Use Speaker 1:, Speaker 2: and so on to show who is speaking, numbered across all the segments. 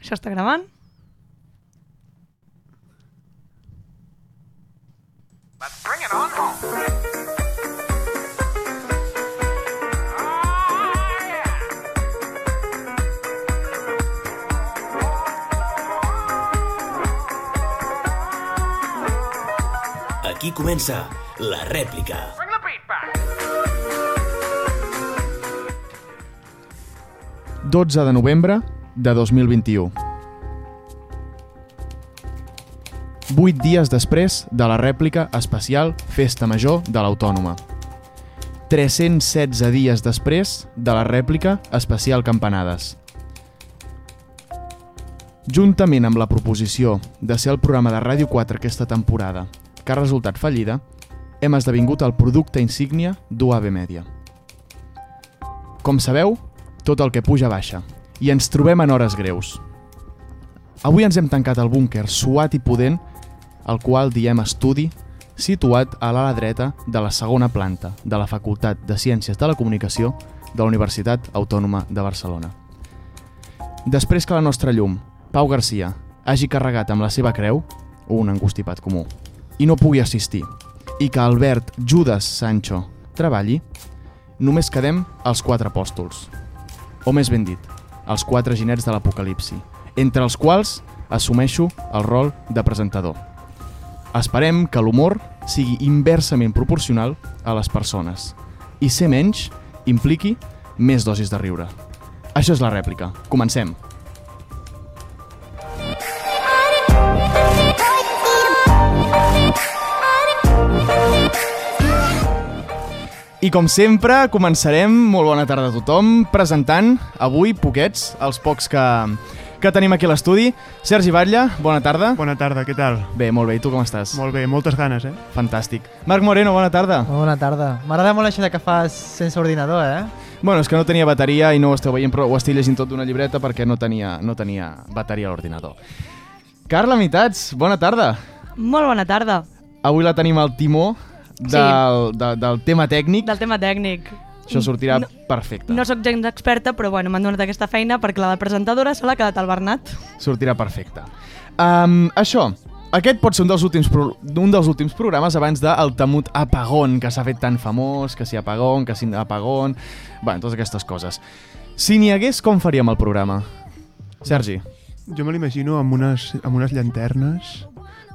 Speaker 1: Això està gravant?
Speaker 2: Bring it on home. Oh,
Speaker 3: Aquí comença la rèplica.
Speaker 2: Bring the beat back.
Speaker 4: 12 de novembre de 2021. Vuit dies després de la rèplica especial Festa Major de l'Autònoma. 316 dies després de la rèplica especial Campanades. Juntament amb la proposició de ser el programa de Ràdio 4 aquesta temporada, que ha resultat fallida, hem esdevingut el producte insígnia d'UAB Media. Com sabeu, tot el que puja baixa, i ens trobem en hores greus. Avui ens hem tancat al búnquer suat i pudent, al qual diem estudi, situat a l'ala dreta de la segona planta de la Facultat de Ciències de la Comunicació de la Universitat Autònoma de Barcelona. Després que la nostra llum, Pau Garcia, hagi carregat amb la seva creu, un encostipat comú, i no pugui assistir, i que Albert Judas Sancho treballi, només quedem els quatre apòstols, o més ben dit, els quatre ginets de l'apocalipsi, entre els quals assumeixo el rol de presentador. Esperem que l'humor sigui inversament proporcional a les persones i ser menys impliqui més dosis de riure. Això és la rèplica. Comencem. I com sempre, començarem, molt bona tarda a tothom, presentant avui, poquets, els pocs que, que tenim aquí a l'estudi. Sergi Batlle, bona tarda.
Speaker 5: Bona tarda, què tal?
Speaker 4: Bé, molt bé, i tu com estàs?
Speaker 5: Molt bé, moltes ganes, eh?
Speaker 4: Fantàstic. Marc Moreno, bona tarda.
Speaker 6: Molt Bona tarda. M'agrada molt això de que fas sense ordinador, eh?
Speaker 4: Bueno, és que no tenia bateria i no ho esteu veient, però ho estic llegint tot d'una llibreta perquè no tenia, no tenia bateria a l'ordinador. Carla Mitats, bona tarda.
Speaker 1: Molt bona tarda.
Speaker 4: Avui la tenim al timó del, sí. de, del tema tècnic.
Speaker 1: Del tema tècnic.
Speaker 4: Això sortirà
Speaker 1: No-
Speaker 4: perfecte.
Speaker 1: No sóc gens experta, però bueno, m'han donat aquesta feina perquè la de presentadora se l'ha quedat al Bernat.
Speaker 4: sortirà perfecte. Um, això, aquest pot ser un dels últims, pro un dels últims programes abans del temut apagón, que s'ha fet tan famós, que si apagón, que si apagón... Bé, totes aquestes coses. Si n'hi hagués, com faríem el programa? Sergi,
Speaker 5: Jo me l'imagino amb, unes, amb unes llanternes,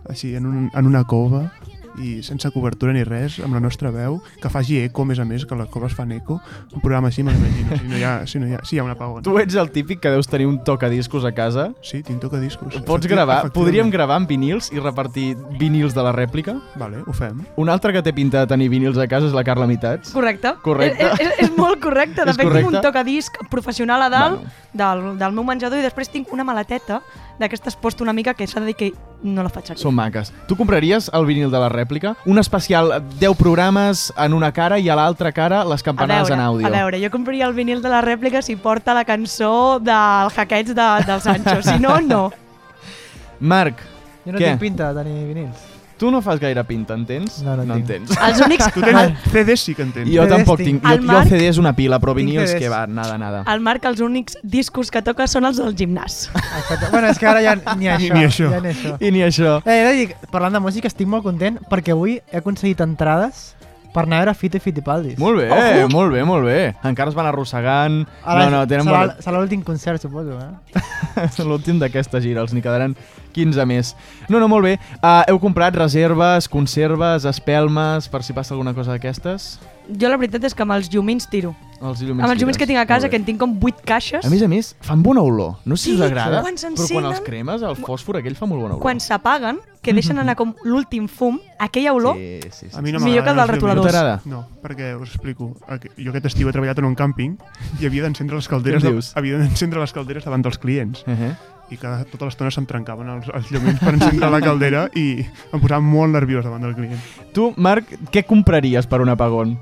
Speaker 5: així, en, un, en una cova, i sense cobertura ni res, amb la nostra veu, que faci eco, a més a més, que les coves fan eco. Un programa així me l'imagino, si no hi ha, si no hi ha, si hi ha un apagón.
Speaker 4: tu ets el típic que deus tenir un tocadiscos a casa.
Speaker 5: Sí, tinc tocadiscos.
Speaker 4: Pots
Speaker 5: Efecti-
Speaker 4: gravar,
Speaker 5: efectivament.
Speaker 4: podríem gravar amb vinils i repartir vinils de la rèplica.
Speaker 5: Vale, ho fem.
Speaker 4: Un altre que té pinta de tenir vinils a casa és la Carla Mitats.
Speaker 1: Correcte?
Speaker 4: Correcte.
Speaker 1: És, és, és molt correcte. De
Speaker 4: És
Speaker 1: fet, tinc un
Speaker 4: correcte.
Speaker 1: tocadisc professional a dalt
Speaker 4: Bueno.
Speaker 1: bueno. del, del meu menjador i després tinc una maleteta d'aquestes post una mica que s'ha de dir que no la faig servir.
Speaker 4: Són maques. Tu compraries el vinil de la rèplica? Un especial, eh, 10 programes en una cara i a l'altra cara
Speaker 1: A
Speaker 4: les campanades
Speaker 1: veure,
Speaker 4: en àudio.
Speaker 1: a veure, jo compraria el vinil de la rèplica si porta la cançó del hackeig de, del Sancho. Si no, no.
Speaker 4: Marc,
Speaker 6: Jo no
Speaker 4: Què?
Speaker 6: tinc pinta de tenir vinils.
Speaker 4: tu no fas gaire pinta, entens?
Speaker 6: No, no en
Speaker 4: no
Speaker 6: tinc.
Speaker 4: entens.
Speaker 1: Els únics...
Speaker 5: Tu tens
Speaker 1: El,
Speaker 5: CDs sí que en tens.
Speaker 4: Ah. Jo
Speaker 6: CDs
Speaker 4: tampoc
Speaker 6: tinc.
Speaker 4: tinc. Jo,
Speaker 1: El
Speaker 4: jo
Speaker 1: Marc-
Speaker 4: CD és una pila, però
Speaker 6: Tinc
Speaker 4: vinils
Speaker 6: CDs.
Speaker 4: que va, nada, nada.
Speaker 1: el Marc, els únics discos que toca són els del gimnàs.
Speaker 6: Exacte. bueno, és que ara ja ni això.
Speaker 5: Ni això.
Speaker 6: Ja ni això.
Speaker 4: I ni això.
Speaker 6: Eh, he de dir, parlant de música, estic molt content perquè avui he aconseguit entrades per anar a veure Fito i Fitipaldis.
Speaker 4: Molt bé, oh. molt bé, molt bé. Encara es van arrossegant.
Speaker 6: uh. Ara
Speaker 4: no, no, tenen
Speaker 6: serà,
Speaker 4: molt...
Speaker 6: serà l'últim concert, suposo, eh?
Speaker 4: l'últim d'aquesta gira, els n'hi quedaran 15 més. No, no, molt bé. Uh, heu comprat reserves, conserves, espelmes, per si passa alguna cosa d'aquestes?
Speaker 1: Jo la veritat és que amb els llumins tiro.
Speaker 4: Els
Speaker 1: Amb els llumins que tinc a casa, que en tinc com 8 caixes,
Speaker 4: A més a més, fan bona olor. No sé si
Speaker 1: Sí,
Speaker 4: us
Speaker 1: quan
Speaker 4: agrada, però quan
Speaker 1: s'encenen-
Speaker 4: els cremes, el fòsfor aquell fa molt bona olor.
Speaker 1: quan s'apaguen, que deixen anar com l'últim fum, aquella olor... Sí.
Speaker 4: Sí, sí, sí.
Speaker 5: A mi no
Speaker 1: Millor que el
Speaker 5: m'agraden
Speaker 1: del
Speaker 5: els llumins.
Speaker 4: No t'agrada?
Speaker 5: No, perquè us explico. Aqu- Jo aquest estiu he treballat en un càmping i havia d'encendre les calderes,
Speaker 4: Què em
Speaker 5: de,
Speaker 4: dius?
Speaker 5: havia d'encendre les calderes davant dels clients.
Speaker 4: Uh -huh.
Speaker 5: i que tota l'estona se'm trencaven els, els llumins per encendre la caldera i em posava molt nerviós davant del client.
Speaker 4: Tu, Marc, què compraries per un apagón?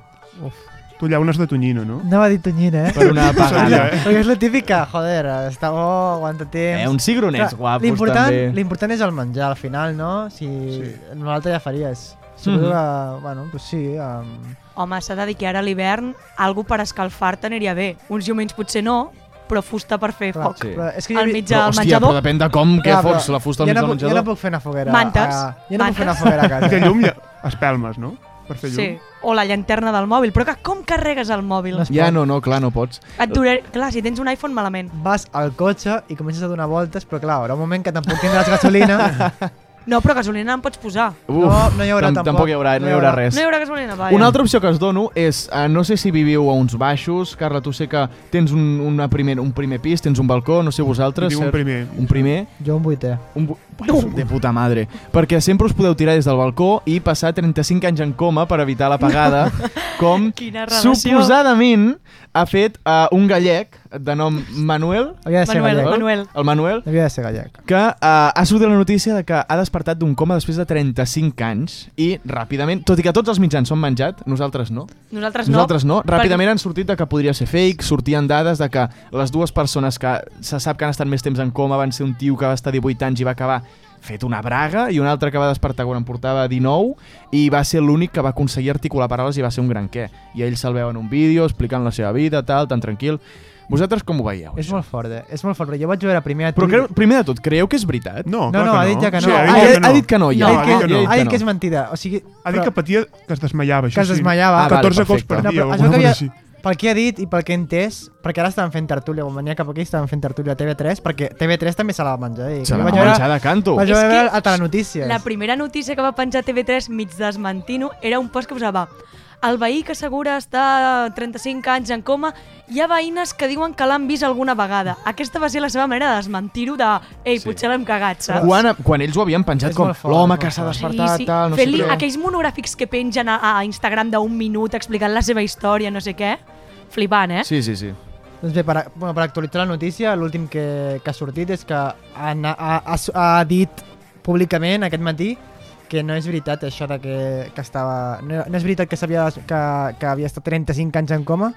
Speaker 5: Tu llaunes de tonyino, no?
Speaker 6: Anava a dir tonyina, eh?
Speaker 4: Per una
Speaker 5: sabia,
Speaker 4: apagada?
Speaker 6: Perquè és la típica, joder, està bo, aguanta temps...
Speaker 4: Eh, uns cigronets
Speaker 6: Clar,
Speaker 4: guapos,
Speaker 6: l'important-
Speaker 4: també.
Speaker 6: L'important és el menjar, al final, no? Si
Speaker 5: Sí.
Speaker 6: sí. nosaltres ja faries. Suposo
Speaker 4: Mhm.
Speaker 6: que, bueno, pues sí, um,
Speaker 1: Home, s'ha de dir que ara a l'hivern algú per escalfar-te aniria bé. Uns llumins potser no, però fusta per fer
Speaker 6: Clar,
Speaker 1: foc.
Speaker 7: sí.
Speaker 6: Però és que
Speaker 1: Al
Speaker 6: jo,
Speaker 1: mitjà
Speaker 4: Però,
Speaker 1: del
Speaker 4: hòstia, però
Speaker 1: menjador,
Speaker 4: depèn de com, què
Speaker 6: Clar, però
Speaker 4: fots, la fusta
Speaker 6: jo
Speaker 4: al mig
Speaker 6: no
Speaker 4: del
Speaker 6: puc- Jo
Speaker 4: menjador.
Speaker 6: no puc fer una foguera.
Speaker 1: Mantes.
Speaker 6: Ah, jo no puc fer una
Speaker 1: Mantes.
Speaker 6: foguera a casa.
Speaker 5: Que llum, lle- espelmes, no? Per fer
Speaker 1: sí,
Speaker 5: llum.
Speaker 1: o la llanterna del mòbil, però que com carregues el mòbil?
Speaker 6: No es-
Speaker 4: Ja no, no, clar, no pots.
Speaker 1: Et duraré... Clar, si tens un iPhone, malament.
Speaker 6: Vas al cotxe i comences a donar voltes, però clar, haurà un moment que tampoc tindràs gasolina.
Speaker 1: No, però gasolina en pots posar.
Speaker 4: Uf,
Speaker 6: no hi haurà
Speaker 4: tam-
Speaker 6: tampoc.
Speaker 4: Tampoc hi haurà, no hi haurà res.
Speaker 1: No hi haurà gasolina, vaja.
Speaker 4: Una altra opció que us dono és, eh, no sé si viviu a uns baixos, Carla, tu sé que tens un, una primer, un primer pis, tens un balcó, no sé vosaltres.
Speaker 5: Tinc un
Speaker 4: Sergi.
Speaker 5: primer.
Speaker 4: Un primer.
Speaker 6: jo un vuitè.
Speaker 4: Un bu- De puta madre. Perquè sempre us podeu tirar des del balcó i passar 35 anys en coma per evitar l'apagada, com
Speaker 1: Quina relació.
Speaker 4: suposadament ha fet eh, un gallec de nom Manuel, eh,
Speaker 6: Havia de ser
Speaker 1: Manuel,
Speaker 6: gallec.
Speaker 1: Manuel.
Speaker 4: el Manuel,
Speaker 6: Havia de ser gallec.
Speaker 4: que eh, ha sortit la notícia de que ha despertat d'un coma després de 35 anys i ràpidament, tot i que tots els mitjans són menjat, nosaltres no.
Speaker 1: Nosaltres no.
Speaker 4: Nosaltres no.
Speaker 1: perquè-
Speaker 4: Ràpidament han sortit de que podria ser fake, sortien dades de que les dues persones que se sap que han estat més temps en coma van ser un tio que va estar 18 anys i va acabar fet una braga i un altre que va despertar quan en portava 19 i va ser l'únic que va aconseguir articular paraules i va ser un gran què. I ell se'l veu en un vídeo explicant la seva vida, tal, tan tranquil. Vosaltres com ho veieu?
Speaker 6: És
Speaker 4: això?
Speaker 6: molt fort, eh? És molt fort, però jo vaig veure primer a
Speaker 4: Però
Speaker 6: Twitter-
Speaker 4: creu, primer de tot, creieu que és veritat?
Speaker 5: No,
Speaker 6: No,
Speaker 5: clar
Speaker 6: no,
Speaker 5: que
Speaker 6: ha dit ja que no.
Speaker 5: Sí, ha
Speaker 4: Ah,
Speaker 5: dit, ja
Speaker 4: ja-
Speaker 5: que no.
Speaker 4: ha dit que no, ja.
Speaker 1: No,
Speaker 6: ha, dit que,
Speaker 5: ha dit que no.
Speaker 6: ha dit que és mentida. O sigui,
Speaker 5: Ha dit que patia, que es desmaiava, això
Speaker 6: que es
Speaker 5: sí.
Speaker 6: desmaiava.
Speaker 4: Ah, vale,
Speaker 5: 14 cops per
Speaker 4: perfecte.
Speaker 5: dia.
Speaker 6: No, però
Speaker 5: o
Speaker 6: es veu
Speaker 5: alguna
Speaker 6: que havia,
Speaker 5: cosa així.
Speaker 6: pel que ha dit i pel que he entès, perquè ara estaven fent tertúlia, quan venia cap aquí estaven fent tertúlia a TV3, perquè TV3 també se la va menjar. I
Speaker 4: Se la
Speaker 6: vaig
Speaker 4: va
Speaker 6: veure-
Speaker 4: menjar de canto.
Speaker 6: Vaig
Speaker 1: És que
Speaker 6: veure a Telenotícies.
Speaker 1: La primera notícia que va penjar TV3 mig desmentint-ho era un post que posava el veí que assegura estar 35 anys en coma, hi ha veïnes que diuen que l'han vist alguna vegada. Aquesta va ser la seva manera de desmentir-ho de ei,
Speaker 4: Sí.
Speaker 1: sí. potser l'hem cagat, saps?
Speaker 4: Quan, quan ells ho havien penjat
Speaker 6: És
Speaker 4: com
Speaker 6: molt fort,
Speaker 4: l'home
Speaker 6: molt
Speaker 4: que s'ha
Speaker 6: fort.
Speaker 4: despertat, tal, no sé
Speaker 1: Fent-li
Speaker 4: què.
Speaker 1: aquells monogràfics que pengen a, a Instagram d'un minut explicant la seva història, no sé què. Flipant, eh?
Speaker 4: Sí, sí, sí.
Speaker 6: Doncs bé, per, a- bueno, per actualitzar la notícia, l'últim que, que ha sortit és que ha, na- ha, ha, s- ha dit públicament aquest matí que no és veritat això de que, que estava... No, no és veritat que, sabia, que, que havia estat 35 anys en coma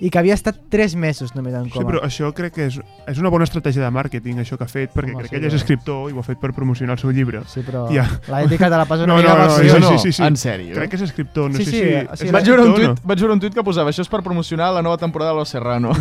Speaker 6: i que havia estat 3 mesos només en
Speaker 5: Sí,
Speaker 6: coma.
Speaker 5: però això crec que és, és una bona estratègia de màrqueting, això que ha fet, perquè
Speaker 6: Home,
Speaker 5: crec
Speaker 6: sí,
Speaker 5: que ell és
Speaker 6: eh?
Speaker 5: escriptor i ho ha fet per promocionar el seu llibre.
Speaker 6: sí, però
Speaker 5: Ja.
Speaker 6: la ètica te la passa una
Speaker 5: No,
Speaker 6: mica
Speaker 5: no,
Speaker 6: per
Speaker 5: no,
Speaker 6: sobre.
Speaker 5: sí,
Speaker 4: no,
Speaker 5: sí, sí, sí.
Speaker 4: en sèrio.
Speaker 5: Crec que és escriptor, no
Speaker 6: Sí,
Speaker 5: sé
Speaker 6: sí,
Speaker 5: si...
Speaker 6: o sigui,
Speaker 4: Vaig veure,
Speaker 5: és
Speaker 4: un
Speaker 5: escriptor o
Speaker 4: tuit, vaig veure un tuit que posava això és per promocionar la nova temporada de Los Serrano.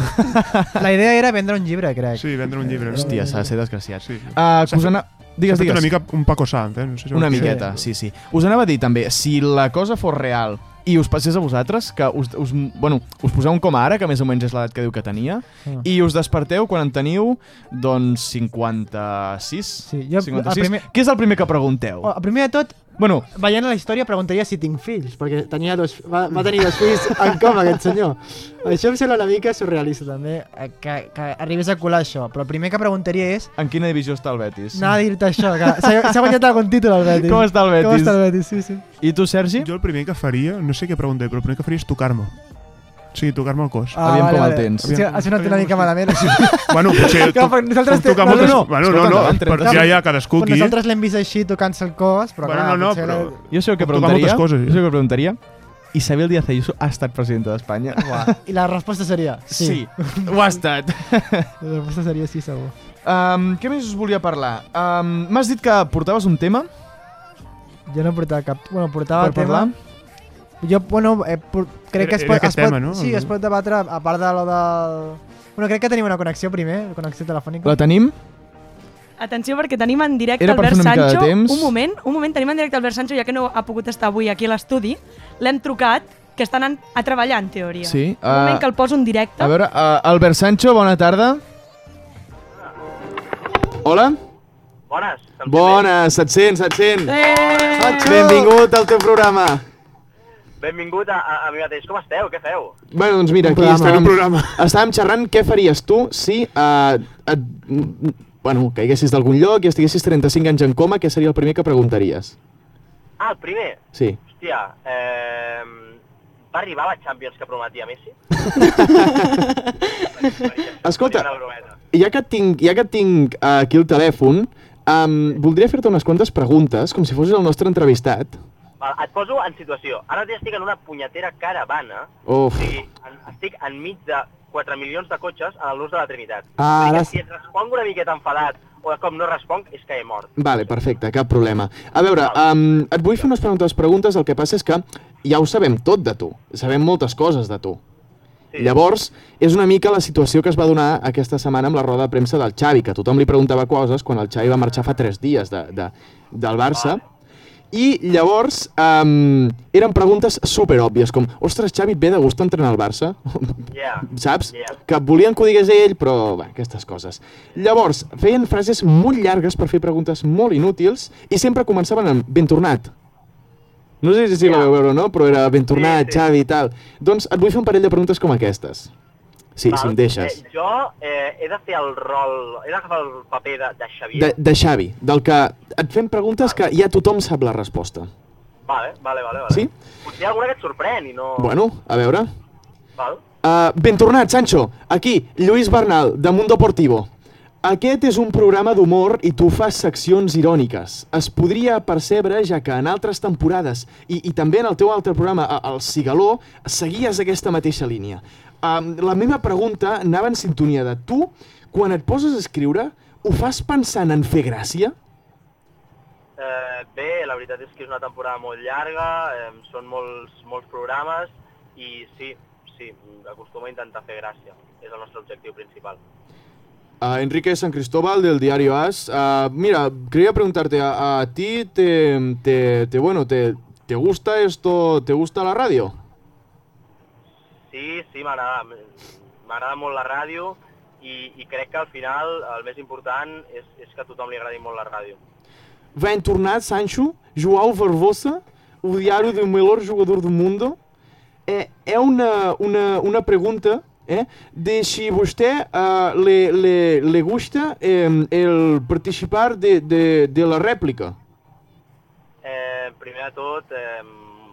Speaker 6: La idea era vendre un llibre,
Speaker 5: No?
Speaker 6: crec.
Speaker 5: Sí, vendre un llibre. no?
Speaker 4: Hòstia, s'ha de ser desgraciat.
Speaker 5: Sí.
Speaker 4: Uh,
Speaker 5: S'ha
Speaker 4: us
Speaker 5: fet-
Speaker 4: ana...
Speaker 5: S'ha
Speaker 4: Digues,
Speaker 5: fet
Speaker 4: digues.
Speaker 5: una mica un Paco Sanz, eh? No sé si ho
Speaker 4: Una
Speaker 5: heu vist.
Speaker 4: miqueta, sí, sí. Us anava a dir també, si la cosa fos real i us passés a vosaltres, que us, us, bueno, us poseu un coma ara, que més o menys és l'edat que diu que tenia,
Speaker 6: Ah.
Speaker 4: i us desperteu quan en teniu, doncs, 56?
Speaker 6: Sí, jo- el
Speaker 4: 56?
Speaker 6: primer- Oh.
Speaker 4: Què és el primer que pregunteu?
Speaker 6: O, primer de tot,
Speaker 4: Bueno,
Speaker 6: veient la història, preguntaria si tinc fills, perquè tenia dos, va, va tenir dos fills en coma, aquest senyor. Això em sembla una mica surrealista, també, eh, que, que arribés a colar això. Però el primer que preguntaria és
Speaker 4: en quina divisió està el Betis?
Speaker 6: anar a dir-te això, que s'ha s'ha guanyat algun títol el Betis.
Speaker 4: Com està el Betis?
Speaker 6: Com està el Betis, sí, sí.
Speaker 4: I tu, Sergi?
Speaker 5: Jo el primer que faria, no sé què preguntar, però el primer que faria és tocar-me. Sí, tocar-me el cos.
Speaker 4: Ah, Aviam com el tens.
Speaker 6: Sí, ha sonat una mica malament. Sí.
Speaker 5: Bueno,
Speaker 6: Clar,
Speaker 5: potser to-
Speaker 6: perquè nosaltres
Speaker 5: com
Speaker 6: té-
Speaker 5: tocar
Speaker 6: no,
Speaker 5: moltes...
Speaker 6: no, no.
Speaker 5: Bueno, no,
Speaker 4: Escolta,
Speaker 5: no,
Speaker 4: endavant, 30.
Speaker 5: per, ja, ja, cadascú
Speaker 6: Però
Speaker 5: aquí.
Speaker 6: nosaltres l'hem vist així, tocant-se el cos, però
Speaker 5: Bueno,
Speaker 6: clar,
Speaker 5: no, no,
Speaker 6: potser
Speaker 5: però...
Speaker 6: era-
Speaker 4: Jo sé el que
Speaker 5: Pot tocar
Speaker 4: preguntaria.
Speaker 5: moltes coses,
Speaker 4: jo
Speaker 5: eh?
Speaker 4: sé el que preguntaria. Isabel Díaz Ayuso ha estat presidenta d'Espanya?
Speaker 6: Uah. I la resposta seria sí.
Speaker 4: ho ha estat.
Speaker 6: La resposta seria sí, segur.
Speaker 4: Um, què més us volia parlar? Um, M'has dit que portaves un tema
Speaker 6: Jo no portava cap... Bueno, portava
Speaker 4: per
Speaker 6: el tema...
Speaker 4: parlar?
Speaker 6: Jo, bueno, eh, por- crec
Speaker 5: Era-
Speaker 6: que es
Speaker 5: era
Speaker 6: pot,
Speaker 5: aquest
Speaker 6: es pot,
Speaker 5: tema, no?
Speaker 6: sí, es pot debatre a part de lo del... Bueno, crec que tenim una connexió primer, connexió telefònica.
Speaker 4: La tenim?
Speaker 1: Atenció perquè tenim en directe
Speaker 4: Era per fer
Speaker 1: Albert
Speaker 4: una mica de
Speaker 1: Sancho.
Speaker 4: temps.
Speaker 1: Un moment, un moment, tenim en directe Albert Sancho, ja que no ha pogut estar avui aquí a l'estudi. L'hem trucat, que està anant a treballar, en teoria.
Speaker 4: Sí,
Speaker 1: Un moment
Speaker 4: eh,
Speaker 1: que el poso en directe.
Speaker 4: A veure, uh, Albert Sancho, bona tarda. Hola?
Speaker 2: Bones.
Speaker 4: Bones, et sent, et sent.
Speaker 1: Eh!
Speaker 4: Benvingut al teu programa.
Speaker 2: Benvingut a, a, a mi mateix. Com esteu? Què feu?
Speaker 4: Bueno, doncs mira, aquí
Speaker 5: programa,
Speaker 4: estàvem,
Speaker 5: un programa.
Speaker 4: estàvem xerrant què faries tu si uh, et, bueno, caiguessis d'algun lloc i estiguessis 35 anys en coma, què seria el primer que preguntaries?
Speaker 2: Ah, el primer.
Speaker 4: Sí.
Speaker 2: Hòstia, eh, va arribar la Champions que prometia Messi?
Speaker 4: Escolta,
Speaker 2: Una brometa.
Speaker 4: ja que et tinc, ja que et tinc eh, aquí el telèfon, um, voldria fer-te unes quantes preguntes, com si fossis el nostre entrevistat.
Speaker 2: Val, Et poso en situació. Ara mateix estic en una punyetera caravana.
Speaker 4: Uf.
Speaker 2: O sigui, en, estic enmig de 4 milions de cotxes a l'ús de la Trinitat.
Speaker 4: Ah,
Speaker 2: Vull dir
Speaker 4: ara-
Speaker 2: que Si et responc una miqueta enfadat o de com no responc, és que he mort.
Speaker 4: Vale, perfecte, cap problema. A veure, um, et vull fer unes preguntes, preguntes, el que passa és que ja ho sabem tot de tu, sabem moltes coses de tu.
Speaker 2: Sí.
Speaker 4: Llavors, és una mica la situació que es va donar aquesta setmana amb la roda de premsa del Xavi, que tothom li preguntava coses quan el Xavi va marxar fa 3 dies de, de, del Barça. I llavors um, eren preguntes superòbvies, com «Ostres, Xavi, et ve de gust entrenar al Barça?»
Speaker 2: Yeah.
Speaker 4: Saps?
Speaker 2: Yeah.
Speaker 4: Que volien que ho digués ell, però bé, aquestes coses. Llavors, feien frases molt llargues per fer preguntes molt inútils i sempre començaven amb «ben tornat». No sé si la
Speaker 2: Ja.
Speaker 4: veu veure o no, però era «ben tornat,
Speaker 2: Sí, sí.
Speaker 4: Xavi» i tal. Doncs et vull fer un parell de preguntes com aquestes. Sí, si em deixes.
Speaker 2: Eh, jo eh, he de fer el rol, he d'agafar el paper de, de Xavier.
Speaker 4: De, de Xavi, del que et fem preguntes que ja tothom sap la resposta.
Speaker 2: Vale, vale, vale. vale.
Speaker 4: Sí?
Speaker 2: Potser hi ha alguna que et sorprèn i no...
Speaker 4: Bueno, a veure...
Speaker 2: Val?
Speaker 4: Uh, ben tornat, Sancho. Aquí, Lluís Bernal, de Mundo Portivo. Aquest és un programa d'humor i tu fas seccions iròniques. Es podria percebre, ja que en altres temporades i, i també en el teu altre programa, a- El Cigaló, seguies aquesta mateixa línia. Um, la meva pregunta anava en sintonia de tu, quan et poses a escriure, ho fas pensant en fer gràcia?
Speaker 2: Eh, bé, la veritat és que és una temporada molt llarga, eh, són molts, molts programes i sí, sí, acostumo a intentar fer gràcia. És el nostre objectiu principal.
Speaker 4: A Enrique San Cristóbal del diario As. Ah, mira, quería preguntarte, ¿a, a ti te, te, te- bueno, te, te gusta esto, te gusta la radio?
Speaker 2: Sí, sí, m'agrada m'agrada molt la ràdio i, i crec que al final el més important és, és que a tothom li agradi molt la ràdio.
Speaker 4: Vai tornar Sancho, João Barbosa, o diário do melhor jogador do mundo. É, é uma, uma, uma pergunta é, de se você ah, le, le, le gusta eh, el participar de, de, de la réplica.
Speaker 2: Eh, primer de tot, eh,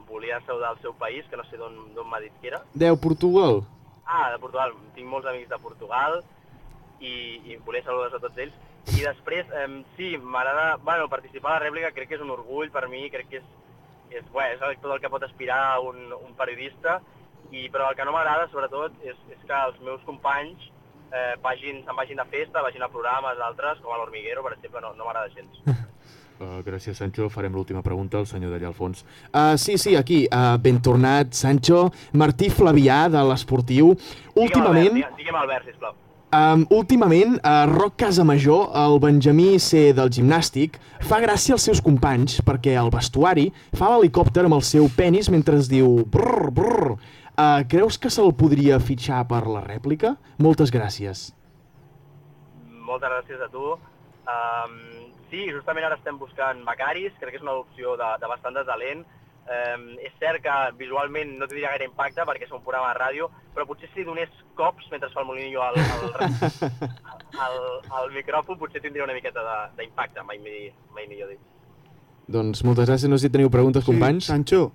Speaker 2: volia saludar el seu país, que no sé d'on d'on m'ha dit que era.
Speaker 4: De Portugal.
Speaker 2: Ah, de Portugal. Tinc molts amics de Portugal i, i volia saludar a tots ells. I després, eh, sí, m'agrada... Bueno, participar a la rèplica crec que és un orgull per mi, crec que és, és, bueno, és el- tot el que pot aspirar un, un periodista, i, però el que no m'agrada, sobretot, és, és que els meus companys eh, vagin, se'n vagin de festa, vagin a programes d'altres, com a l'Hormiguero, per exemple, no, no m'agrada gens.
Speaker 4: Uh, gràcies, Sancho. Farem l'última pregunta al senyor d'allà al fons. Uh, sí, sí, aquí. Uh, ben tornat, Sancho. Martí Flavià, de l'Esportiu. Últimament,
Speaker 2: Digue'm Albert, digue- digue'm Albert, sisplau.
Speaker 4: um, últimament uh, Roc Casamajor, el Benjamí C del gimnàstic, fa gràcia als seus companys perquè al vestuari fa l'helicòpter amb el seu penis mentre es diu brrr, brrr. Uh, creus que se'l podria fitxar per la rèplica? Moltes gràcies.
Speaker 2: Moltes gràcies a tu. Um, sí, justament ara estem buscant becaris, crec que és una opció de, de bastant de talent. Um, és cert que visualment no tindria gaire impacte perquè és un programa de ràdio, però potser si donés cops mentre es fa el molinillo al, al, al, al micròfon potser tindria una miqueta de- d'impacte, mai, mi- mai millor dit.
Speaker 4: Doncs moltes gràcies. No sé si teniu preguntes,
Speaker 5: Sí, Sancho,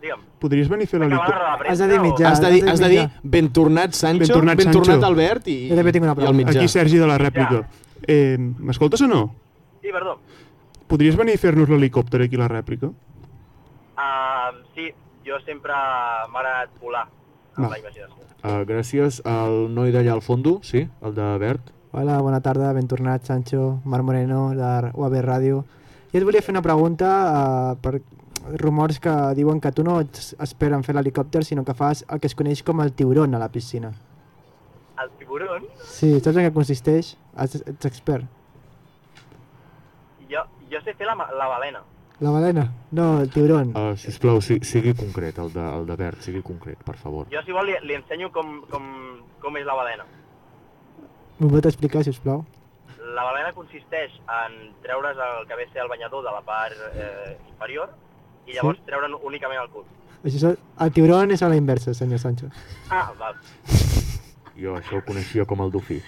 Speaker 2: Digue'm,
Speaker 5: podries venir a fer
Speaker 2: acabant la
Speaker 5: l'helicòpter?
Speaker 2: roda de premsa?
Speaker 6: Has de dir mitjà.
Speaker 4: Has de dir,
Speaker 6: Has
Speaker 4: has
Speaker 6: de
Speaker 4: de dir
Speaker 6: mitjà.
Speaker 4: ben tornat Sancho, ben
Speaker 5: Ben
Speaker 4: tornat,
Speaker 5: tornat,
Speaker 4: ben tornat
Speaker 5: Sancho.
Speaker 4: Albert i,
Speaker 6: Jo també tinc una
Speaker 4: i el
Speaker 6: pregunta.
Speaker 4: mitjà.
Speaker 5: Aquí, Sergi, de la rèplica. Eh, M'escoltes o no?
Speaker 2: O... Sí, perdó.
Speaker 5: Podries venir a fer-nos l'helicòpter aquí, a la rèplica?
Speaker 2: Uh, sí, jo sempre m'ha agradat volar amb
Speaker 5: Va.
Speaker 2: la imaginació.
Speaker 7: Ah,
Speaker 4: Uh, gràcies al noi d'allà al fondo, sí, el de verd.
Speaker 6: Hola, bona tarda, ben tornat, Sancho, Marc Moreno, de UAB Ràdio. Jo et volia fer una pregunta uh, per rumors que diuen que tu no ets expert en fer l'helicòpter, sinó que fas el que es coneix com el tiburon a la piscina.
Speaker 2: El tiburón
Speaker 6: Sí, saps en què consisteix? Ets, ets expert.
Speaker 2: Jo, jo sé fer la, ma- la balena.
Speaker 6: La balena? Ah. No, el tiburon.
Speaker 7: Uh, sisplau, si, sigui concret, el de, el de verd, sigui concret, per favor.
Speaker 2: Jo, si vol, li, li ensenyo com, com, com és la balena.
Speaker 6: M'ho pot explicar, si us plau?
Speaker 2: La balena consisteix en treure's el que ve a ser el banyador de la part eh, inferior i llavors sí? treure'n únicament el cul.
Speaker 6: Això és el, el tiburon és a la inversa, senyor Sancho.
Speaker 2: Ah, val.
Speaker 7: Jo això ho coneixia com el dofí.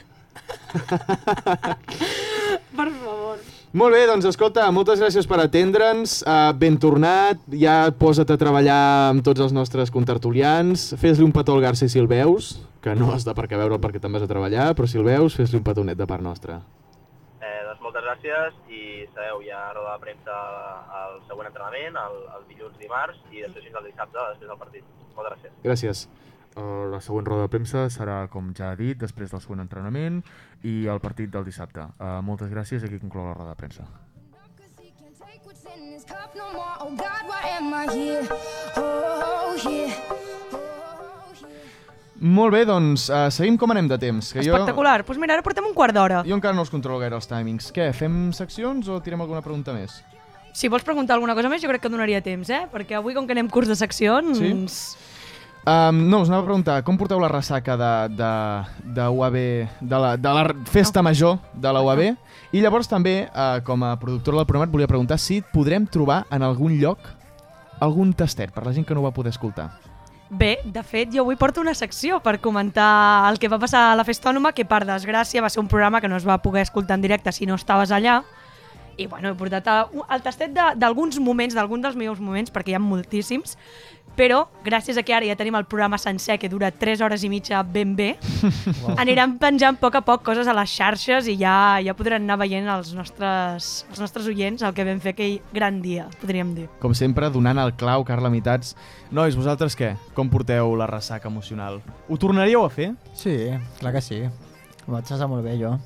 Speaker 4: Molt bé, doncs escolta, moltes gràcies per atendre'ns, uh, ben tornat, ja posa't a treballar amb tots els nostres contertulians, fes-li un petó al Garci si el veus, que no has de per què veure'l perquè te'n vas a treballar, però si el veus, fes-li un petonet de part nostra.
Speaker 2: Eh, doncs moltes gràcies i sabeu, hi ha roda de premsa al següent entrenament, el, el dilluns dimarts i després fins al dissabte, després del partit. Moltes gràcies.
Speaker 4: Gràcies.
Speaker 7: Uh, la següent roda de premsa serà, com ja ha dit, després del següent entrenament i el partit del dissabte. Uh, moltes gràcies, aquí conclou la roda de premsa.
Speaker 8: Cause he can't take what's in his cup no more. Oh God, why am I here? Oh, here. Oh, here.
Speaker 4: Molt bé, doncs uh, seguim com anem de temps. Que jo,
Speaker 1: Espectacular. Doncs pues mira, ara portem un quart d'hora.
Speaker 4: jo encara no els controlo gaire els timings. Què, fem seccions o tirem alguna pregunta més?
Speaker 1: Si vols preguntar alguna cosa més, jo crec que donaria temps, eh? Perquè avui, com que anem curs de seccions...
Speaker 4: Sí? Um, no, us anava a preguntar, com porteu la ressaca de, de, de UAB, de la, de la festa major de la UAB? I llavors també, uh, com a productora del programa, et volia preguntar si podrem trobar en algun lloc algun tastet, per la gent que no ho va poder escoltar.
Speaker 1: Bé, de fet, jo avui porto una secció per comentar el que va passar a la Festa Ònoma, que per desgràcia va ser un programa que no es va poder escoltar en directe si no estaves allà. I bueno, he portat a- un- el tastet de- d'alguns moments, d'alguns dels meus moments, perquè hi ha moltíssims, però gràcies a que ara ja tenim el programa sencer, que dura 3 hores i mitja ben bé, aniran penjant a poc a poc coses a les xarxes i ja ja podran anar veient els nostres, els nostres oients el que vam fer aquell gran dia, podríem dir.
Speaker 4: Com sempre, donant el clau, Carla Mitats. Nois, vosaltres què? Com porteu la ressaca emocional? Ho tornaríeu a fer?
Speaker 6: Sí, clar que sí. Em vaig estar molt bé, jo.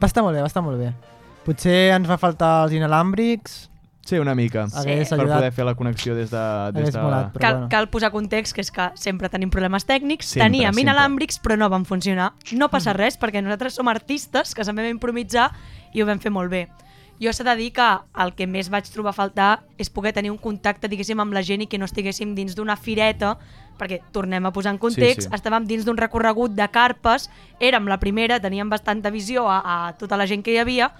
Speaker 6: Va estar molt bé, va estar molt bé. Potser ens va faltar els inalàmbrics,
Speaker 4: Sí, una mica.
Speaker 1: Sí.
Speaker 6: hagués
Speaker 4: Per poder
Speaker 6: ajudat,
Speaker 4: fer la connexió des de... Des
Speaker 6: hagués
Speaker 4: de...
Speaker 6: molat, però
Speaker 1: Cal,
Speaker 6: bueno.
Speaker 1: cal posar context, que és que sempre tenim problemes tècnics,
Speaker 4: Sempre,
Speaker 1: teníem
Speaker 4: sempre. Mm.
Speaker 1: inalàmbrics però no van funcionar. No passa res perquè nosaltres som artistes que també vam improvisar i ho vam fer molt bé. Jo s'ha de dir que el que més vaig trobar a faltar és poder tenir un contacte, diguéssim, amb la gent i que no estiguéssim dins d'una fireta, perquè tornem a posar en context, sí,
Speaker 4: sí.
Speaker 1: sí. estàvem dins d'un recorregut de carpes, érem la primera, teníem bastanta visió a, a tota la gent que hi havia,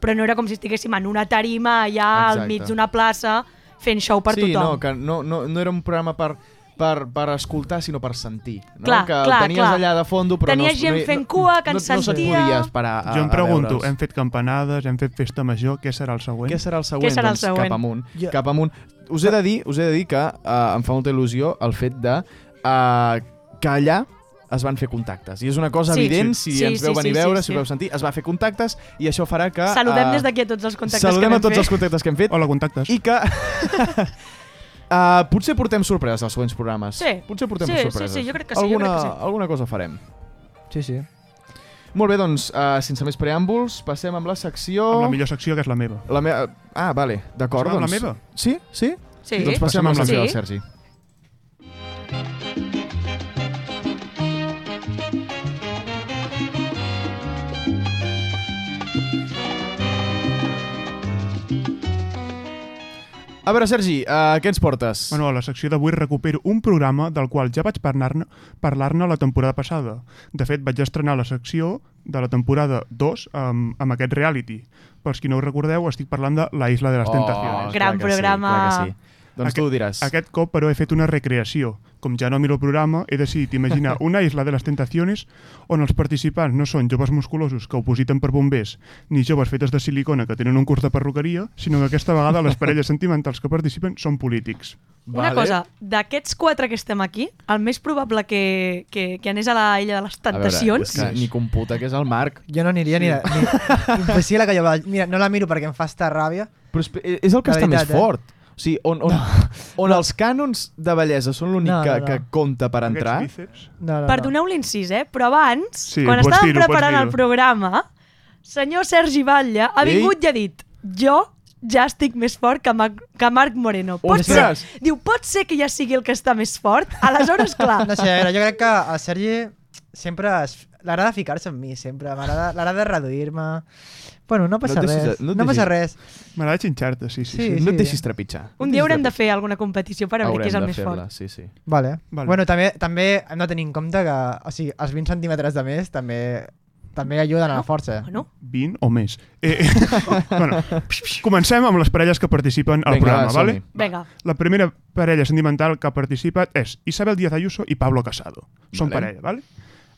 Speaker 1: però no era com si estiguéssim en una tarima allà
Speaker 4: Exacte.
Speaker 1: al mig d'una plaça fent show per
Speaker 4: sí,
Speaker 1: tothom.
Speaker 4: no, que no, no, no era un programa per, per, per escoltar, sinó per sentir. No?
Speaker 1: Clar,
Speaker 4: que el
Speaker 1: clar,
Speaker 4: tenies
Speaker 1: clar.
Speaker 4: allà de fondo, però
Speaker 1: Tenies
Speaker 4: no... es-
Speaker 1: gent
Speaker 4: no, hi-
Speaker 1: fent cua, que
Speaker 4: no,
Speaker 1: ens
Speaker 4: No se't
Speaker 1: sentia.
Speaker 4: podia esperar a,
Speaker 5: Jo em
Speaker 4: a
Speaker 5: pregunto,
Speaker 4: veure'ls.
Speaker 5: hem fet campanades, hem fet festa major, què serà el següent?
Speaker 4: Què serà el següent?
Speaker 1: Què serà el
Speaker 4: doncs,
Speaker 1: següent?
Speaker 4: Cap amunt.
Speaker 6: Jo-
Speaker 4: Cap amunt. Us he de dir, us he de dir que uh, em fa molta il·lusió el fet de uh, que allà es van fer contactes. I és una cosa
Speaker 1: Sí.
Speaker 4: evident,
Speaker 1: Sí.
Speaker 4: si
Speaker 1: Sí,
Speaker 4: ens
Speaker 1: sí,
Speaker 4: veu venir
Speaker 1: sí,
Speaker 4: a veure,
Speaker 1: sí,
Speaker 4: si
Speaker 1: sí.
Speaker 4: ho veu sentir, es va fer contactes i això farà que...
Speaker 1: Saludem
Speaker 4: eh,
Speaker 1: des d'aquí a tots els contactes
Speaker 4: Saludem
Speaker 1: que
Speaker 4: a tots els contactes que hem fet
Speaker 5: Hola, contactes.
Speaker 4: i que... Uh, potser portem sorpreses als següents programes.
Speaker 1: Sí.
Speaker 4: Potser portem
Speaker 1: Sí, sí,
Speaker 4: sorpreses.
Speaker 1: sí, jo crec que sí, jo
Speaker 4: alguna,
Speaker 1: crec que sí.
Speaker 4: Alguna cosa farem.
Speaker 6: Sí, sí.
Speaker 4: Molt bé, doncs, uh, sense més preàmbuls, passem amb la secció...
Speaker 5: Amb la millor secció, que és la meva.
Speaker 4: La me... Ah, vale, d'acord.
Speaker 5: Passem amb
Speaker 4: Doncs...
Speaker 5: la meva?
Speaker 4: Sí? Sí?
Speaker 1: Sí.
Speaker 4: Doncs passem amb la
Speaker 1: Sí.
Speaker 4: meva, Sergi. A veure, Sergi, uh, què ens portes?
Speaker 5: Bueno, a la secció d'avui recupero un programa del qual ja vaig parlar-ne parlar la temporada passada. De fet, vaig estrenar la secció de la temporada 2 amb, amb aquest reality. Pels qui no ho recordeu, estic parlant de La Isla de les Tentaciones.
Speaker 1: Gran
Speaker 4: clar que
Speaker 1: programa.
Speaker 4: Sí, clar que sí. Doncs tu ho diràs.
Speaker 5: Aquest cop, però, he fet una recreació. Com ja no miro el programa, he decidit imaginar una isla de les tentaciones on els participants no són joves musculosos que opositen per bombers, ni joves fetes de silicona que tenen un curs de perruqueria, sinó que aquesta vegada les parelles sentimentals que participen són polítics.
Speaker 1: Una cosa, d'aquests quatre que estem aquí, el més probable que, que, que anés a la illa de les
Speaker 4: A veure,
Speaker 1: tentacions...
Speaker 4: és que ni computa que és el Marc.
Speaker 6: Jo no aniria sí. ni... a- ni impossible que jo vagi. Mira, no la miro perquè em fa estar ràbia.
Speaker 4: Però és, és el que
Speaker 6: La
Speaker 4: està
Speaker 6: veritat,
Speaker 4: més
Speaker 6: eh?
Speaker 4: fort. O sigui, on, on, on els cànons de bellesa són l'únic
Speaker 6: No, no,
Speaker 4: que,
Speaker 6: no.
Speaker 4: que compta per entrar,
Speaker 5: Aquests bíceps...
Speaker 6: No, no,
Speaker 1: Perdoneu l'incís, eh? Però abans,
Speaker 5: Sí,
Speaker 1: quan
Speaker 5: pots
Speaker 1: estàvem
Speaker 5: dir-ho, pots
Speaker 1: preparant el
Speaker 5: dir-ho.
Speaker 1: programa, senyor Sergi Batlle ha
Speaker 4: Ei.
Speaker 1: vingut i ha dit jo ja estic més fort que, Mac, que Marc Moreno. Pot ser,
Speaker 4: Ostres!
Speaker 1: diu, pot ser que ja sigui el que està més fort? Aleshores, clar,
Speaker 6: No. no sé, a veure, jo crec que a Sergi sempre es- l'agrada ficar-se amb mi, sempre. M'agrada l'agrada reduir-me. Bueno, no passa
Speaker 4: et
Speaker 6: no
Speaker 4: deixis-
Speaker 6: res.
Speaker 4: no
Speaker 6: No,
Speaker 4: et
Speaker 6: no passa res.
Speaker 5: M'agrada xinxar-te, sí, sí. sí.
Speaker 6: Sí.
Speaker 4: no et deixis trepitjar.
Speaker 1: un dia haurem de fer alguna competició per veure qui és el més fort.
Speaker 4: Sí, sí.
Speaker 6: Vale.
Speaker 5: Vale.
Speaker 6: vale. Bueno, també, també hem de tenir en compte que o sigui, els 20 centímetres de més també també ajuden a la força.
Speaker 1: Bueno,
Speaker 5: 20 o més. Eh, eh, bueno, comencem amb les parelles que participen al
Speaker 4: Vinga,
Speaker 5: programa,
Speaker 4: va,
Speaker 5: vale?
Speaker 4: som-hi.
Speaker 1: vinga.
Speaker 5: La primera parella sentimental que ha participat és Isabel Díaz Ayuso i Pablo Casado. Són
Speaker 4: Vale.
Speaker 5: parella, vale?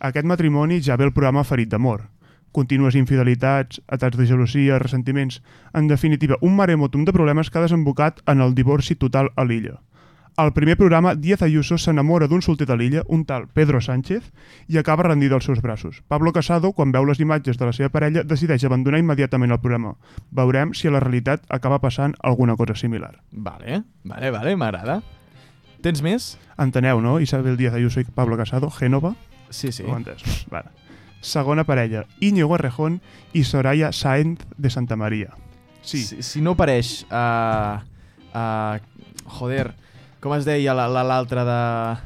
Speaker 5: Aquest matrimoni ja ve el programa ferit d'amor. Contínues infidelitats, atacs de gelosia, ressentiments... En definitiva, un maremotum de problemes que ha desembocat en el divorci total a l'illa. Al primer programa, Díaz Ayuso s'enamora d'un solter de l'illa, un tal Pedro Sánchez, i acaba rendit dels seus braços. Pablo Casado, quan veu les imatges de la seva parella, decideix abandonar immediatament el programa. Veurem si a la realitat acaba passant alguna cosa similar.
Speaker 4: Vale, vale, vale, m'agrada. Tens més?
Speaker 5: Enteneu, no? Isabel Díaz Ayuso i Pablo Casado, Génova.
Speaker 4: Sí, sí.
Speaker 5: Ho he entès. Vale. Segona parella, Íñigo Errejón i Soraya Sáenz de Santa Maria. Sí, sí.
Speaker 4: Si, si no apareix... Uh, uh, joder, com es deia la- la- l'altra la,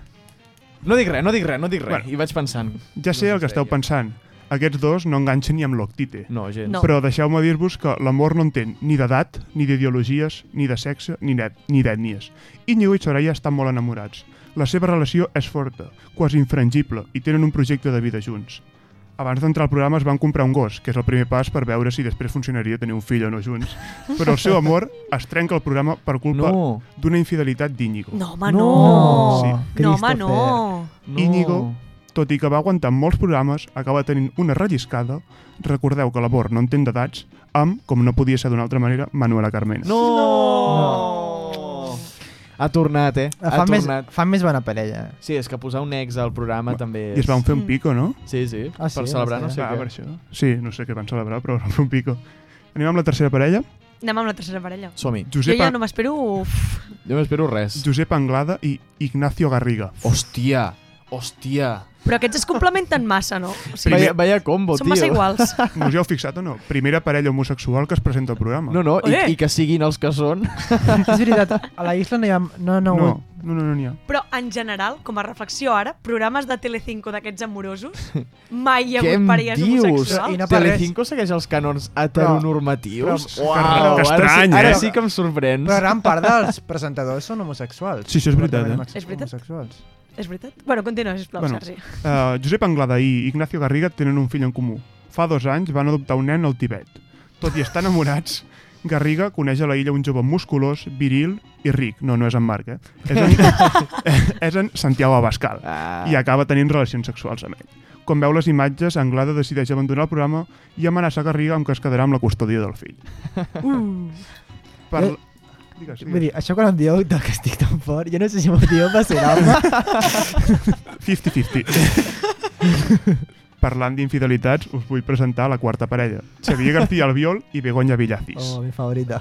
Speaker 4: No dic res, no dic res, no dic res.
Speaker 5: Bueno.
Speaker 4: I vaig pensant.
Speaker 5: Ja sé el que esteu pensant. Aquests dos no enganxen ni amb l'octite.
Speaker 4: No, gens.
Speaker 1: No.
Speaker 5: Però deixeu-me dir-vos que l'amor no entén ni d'edat, ni d'ideologies, ni de sexe, ni net- ni d'ètnies. Íñigo i Soraya estan molt enamorats. La seva relació és forta, quasi infrangible, i tenen un projecte de vida junts. Abans d'entrar al programa es van comprar un gos, que és el primer pas per veure si després funcionaria tenir un fill o no junts. Però el seu amor es trenca el programa per culpa
Speaker 7: No.
Speaker 5: d'una infidelitat d'Íñigo.
Speaker 1: No, home, no.
Speaker 5: Sí.
Speaker 1: No, home, no.
Speaker 7: no.
Speaker 5: Íñigo, tot i que va aguantar molts programes, acaba tenint una relliscada. Recordeu que l'amor no entén d'edats, amb, com no podia ser d'una altra manera, Manuela Carmena.
Speaker 4: No!
Speaker 6: No.
Speaker 4: Ha tornat, eh? Ha
Speaker 6: Fan més,
Speaker 4: tornat.
Speaker 6: fan més bona parella.
Speaker 4: Sí, és que posar un ex al programa
Speaker 5: Va,
Speaker 4: també és...
Speaker 5: I es van fer
Speaker 1: Mm.
Speaker 5: un pico, no?
Speaker 4: Sí, sí,
Speaker 6: Ah, sí?
Speaker 4: per celebrar no
Speaker 6: No
Speaker 4: sé
Speaker 5: Ah,
Speaker 4: què.
Speaker 5: per això. Sí, no sé què van celebrar, però van fer un pico. Anem amb la tercera parella.
Speaker 1: Anem amb la tercera parella.
Speaker 4: Som-hi.
Speaker 1: Jo
Speaker 5: Josep,
Speaker 1: ja no m'espero... uf.
Speaker 4: Jo m'espero res.
Speaker 5: Josep Anglada i Ignacio Garriga.
Speaker 4: Hòstia, hòstia.
Speaker 1: Però aquests es complementen massa, no? O sigui,
Speaker 4: Vaya, vaya combo,
Speaker 1: són massa
Speaker 4: tio.
Speaker 1: iguals.
Speaker 5: No us hi heu fixat o no? Primera parella homosexual que es presenta al programa.
Speaker 4: No, no, i,
Speaker 1: Eh!
Speaker 4: i que siguin els que són.
Speaker 6: És veritat, a la isla no hi ha... No, no,
Speaker 5: no,
Speaker 6: no.
Speaker 5: no, no, no n'hi ha.
Speaker 1: Però, en general, com a reflexió ara, programes de Telecinco d'aquests amorosos, mai hi ha
Speaker 4: Què
Speaker 1: hagut
Speaker 4: em
Speaker 1: parelles
Speaker 4: dius?
Speaker 6: I
Speaker 1: homosexuals.
Speaker 6: no per res.
Speaker 4: Telecinco segueix els canons heteronormatius?
Speaker 5: Però- però- que
Speaker 4: ara,
Speaker 5: estrany,
Speaker 4: sí, ara
Speaker 5: eh?
Speaker 4: sí que em sorprens.
Speaker 6: Però gran part dels presentadors són homosexuals.
Speaker 5: Sí, això és veritat, eh?
Speaker 1: És veritat.
Speaker 6: Homosexuals.
Speaker 1: És veritat? Bueno, continua, sisplau,
Speaker 5: Bueno.
Speaker 1: bueno. Sergi.
Speaker 5: Uh, Josep Anglada i Ignacio Garriga tenen un fill en comú. Fa dos anys van adoptar un nen al Tibet. Tot i estar enamorats, Garriga coneix a la illa un jove musculós, viril i ric. No, no és en Marc, eh? És en, és en Santiago Abascal.
Speaker 4: Ah.
Speaker 5: I acaba tenint relacions sexuals amb ell. Quan veu les imatges, Anglada decideix abandonar el programa i amenaça Garriga amb que es quedarà amb la custòdia del fill.
Speaker 1: Uh.
Speaker 5: Per...
Speaker 6: Eh,
Speaker 5: Digues,
Speaker 6: Vull
Speaker 5: digues.
Speaker 6: dir, això quan em dieu que estic tan fort, jo no sé si m'ho dieu per ser home.
Speaker 5: 50-50. Parlant d'infidelitats, us vull presentar la quarta parella. Xavier García Albiol i Begoña Villacís.
Speaker 6: Oh, mi favorita.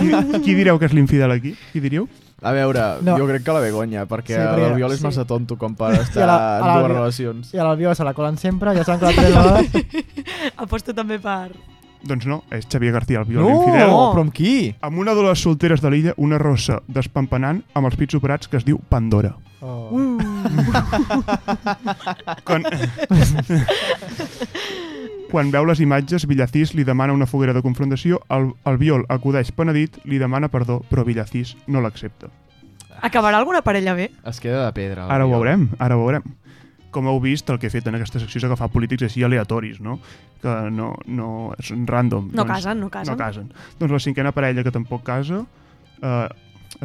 Speaker 5: Qui, qui direu que és l'infidel aquí? Qui diríeu?
Speaker 4: A veure, no.
Speaker 6: No.
Speaker 4: Ah, jo crec que la Begoña,
Speaker 6: Sí,
Speaker 4: perquè sí,
Speaker 6: perquè-
Speaker 4: l'Albiol és
Speaker 6: sí.
Speaker 4: massa tonto com per
Speaker 6: I a
Speaker 4: estar la,
Speaker 6: la- a
Speaker 4: en dues
Speaker 6: l'Albiol-
Speaker 4: relacions.
Speaker 6: I a l'Albiol se la colen sempre, ja s'han colat tres vegades.
Speaker 1: Aposto també per...
Speaker 5: Doncs no, és Xavier García Albiol,
Speaker 4: No,
Speaker 5: l'infidel.
Speaker 4: Oh, però amb qui?
Speaker 5: Amb una de les solteres de l'illa, una rossa despampanant amb els pits operats que es diu Pandora.
Speaker 6: Oh.
Speaker 1: Uh.
Speaker 5: Quan, Quan veu les imatges, Villacís li demana una foguera de confrontació, el, el viol acudeix penedit, li demana perdó, però Villacís no l'accepta.
Speaker 1: Acabarà alguna parella bé?
Speaker 4: Es queda de pedra.
Speaker 5: Ara ho
Speaker 4: l'Albiol.
Speaker 5: veurem, ara ho veurem. Com heu vist, el que he fet en aquesta secció és agafar polítics així aleatoris, no? Que no, no és random.
Speaker 4: Doncs
Speaker 1: No casen, no casen.
Speaker 5: No casen. Doncs la cinquena parella, que tampoc casa, eh,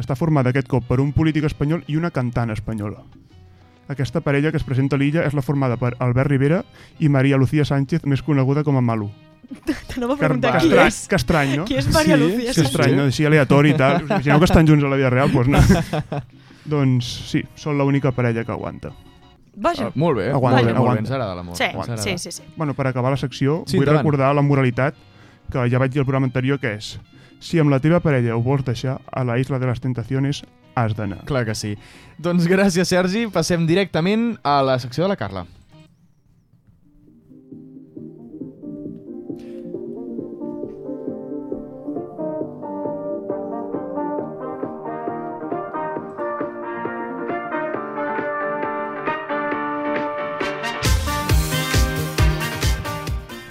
Speaker 5: està formada aquest cop per un polític espanyol i una cantant espanyola. Aquesta parella que es presenta a l'illa és la formada per Albert Rivera i Maria Lucía Sánchez, més coneguda com a Malu.
Speaker 1: T'anava a preguntar
Speaker 5: que,
Speaker 1: qui
Speaker 5: estrany,
Speaker 1: és.
Speaker 5: que estrany, no?
Speaker 1: Qui és Maria
Speaker 4: Sí,
Speaker 1: Lucía
Speaker 5: Que
Speaker 1: Sánchez?
Speaker 5: estrany, no? Així aleatori i tal. Us imagineu que estan junts a la vida real? Doncs no. doncs sí, són l'única parella que aguanta.
Speaker 1: Vaja.
Speaker 4: Ah, Molt bé,
Speaker 5: Aguanta,
Speaker 4: molt bé, molt
Speaker 5: aguanta.
Speaker 4: bé, ens agrada l'amor.
Speaker 1: Sí,
Speaker 4: ens agrada.
Speaker 1: sí, sí, sí.
Speaker 5: Bueno, per acabar la secció,
Speaker 4: Sí,
Speaker 5: sí, vull
Speaker 4: endavant.
Speaker 5: recordar la moralitat que ja vaig dir al programa anterior, que és si amb la teva parella ho vols deixar a la Isla de les Tentaciones, has d'anar.
Speaker 4: Clar que sí. Doncs gràcies, Sergi. Passem directament a la secció de la Carla.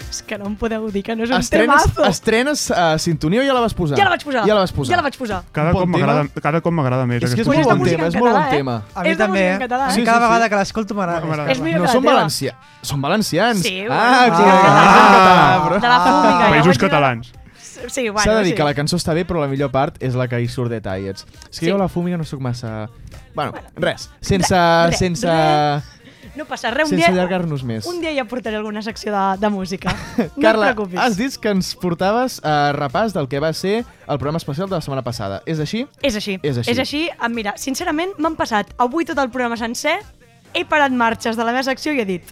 Speaker 1: És que no em podeu dir que no és un
Speaker 4: Estrenes,
Speaker 1: temazo.
Speaker 4: estrenes a sintonia o ja la vas posar?
Speaker 1: Ja la vaig posar.
Speaker 4: Ja la vas posar.
Speaker 1: Ja la vaig posar.
Speaker 5: Cada
Speaker 4: Un bon
Speaker 5: cop m'agrada cada cop m'agrada més.
Speaker 4: És que és
Speaker 5: aquesta
Speaker 1: Pues
Speaker 4: molt
Speaker 1: és de
Speaker 4: bon
Speaker 5: secció.
Speaker 1: música
Speaker 4: tema,
Speaker 1: en català,
Speaker 4: és molt
Speaker 1: eh?
Speaker 4: bon tema.
Speaker 6: A mi
Speaker 1: És de
Speaker 6: també,
Speaker 1: música en
Speaker 6: eh?
Speaker 1: català,
Speaker 6: A
Speaker 1: eh?
Speaker 6: mi
Speaker 4: Sí,
Speaker 6: cada
Speaker 4: sí,
Speaker 6: vegada
Speaker 4: sí.
Speaker 6: que l'escolto m'agrada més.
Speaker 5: M'agrada.
Speaker 1: És millor
Speaker 4: No
Speaker 1: que la
Speaker 4: són
Speaker 1: teva.
Speaker 4: valencians. Són valencians.
Speaker 1: Sí, bueno,
Speaker 4: ah,
Speaker 1: no.
Speaker 6: Ah.
Speaker 4: clar, ah, en català,
Speaker 6: Ah.
Speaker 4: però...
Speaker 1: De la fúmiga. ja vaig
Speaker 5: Països
Speaker 1: mirar-
Speaker 5: catalans.
Speaker 4: Ah.
Speaker 1: Sí, bueno,
Speaker 4: S'ha de dir
Speaker 1: sí.
Speaker 4: que la cançó està bé, però la millor part és la que hi surt de tallets. És que
Speaker 1: Sí.
Speaker 4: jo a la fúmiga no sóc massa... Bueno, res. Sense...
Speaker 1: Re, re,
Speaker 4: sense...
Speaker 1: re. No passa res, un dia,
Speaker 4: sense allargar-nos més.
Speaker 1: un dia ja portaré alguna secció de, de música. no
Speaker 4: Carla,
Speaker 1: et preocupis.
Speaker 4: has dit que ens portaves a repàs del que va ser el programa especial de la setmana passada. És així?
Speaker 1: És així.
Speaker 4: És així.
Speaker 1: És així. Ah, Mira, sincerament, m'han passat avui tot el programa sencer, he parat marxes de la meva secció i he dit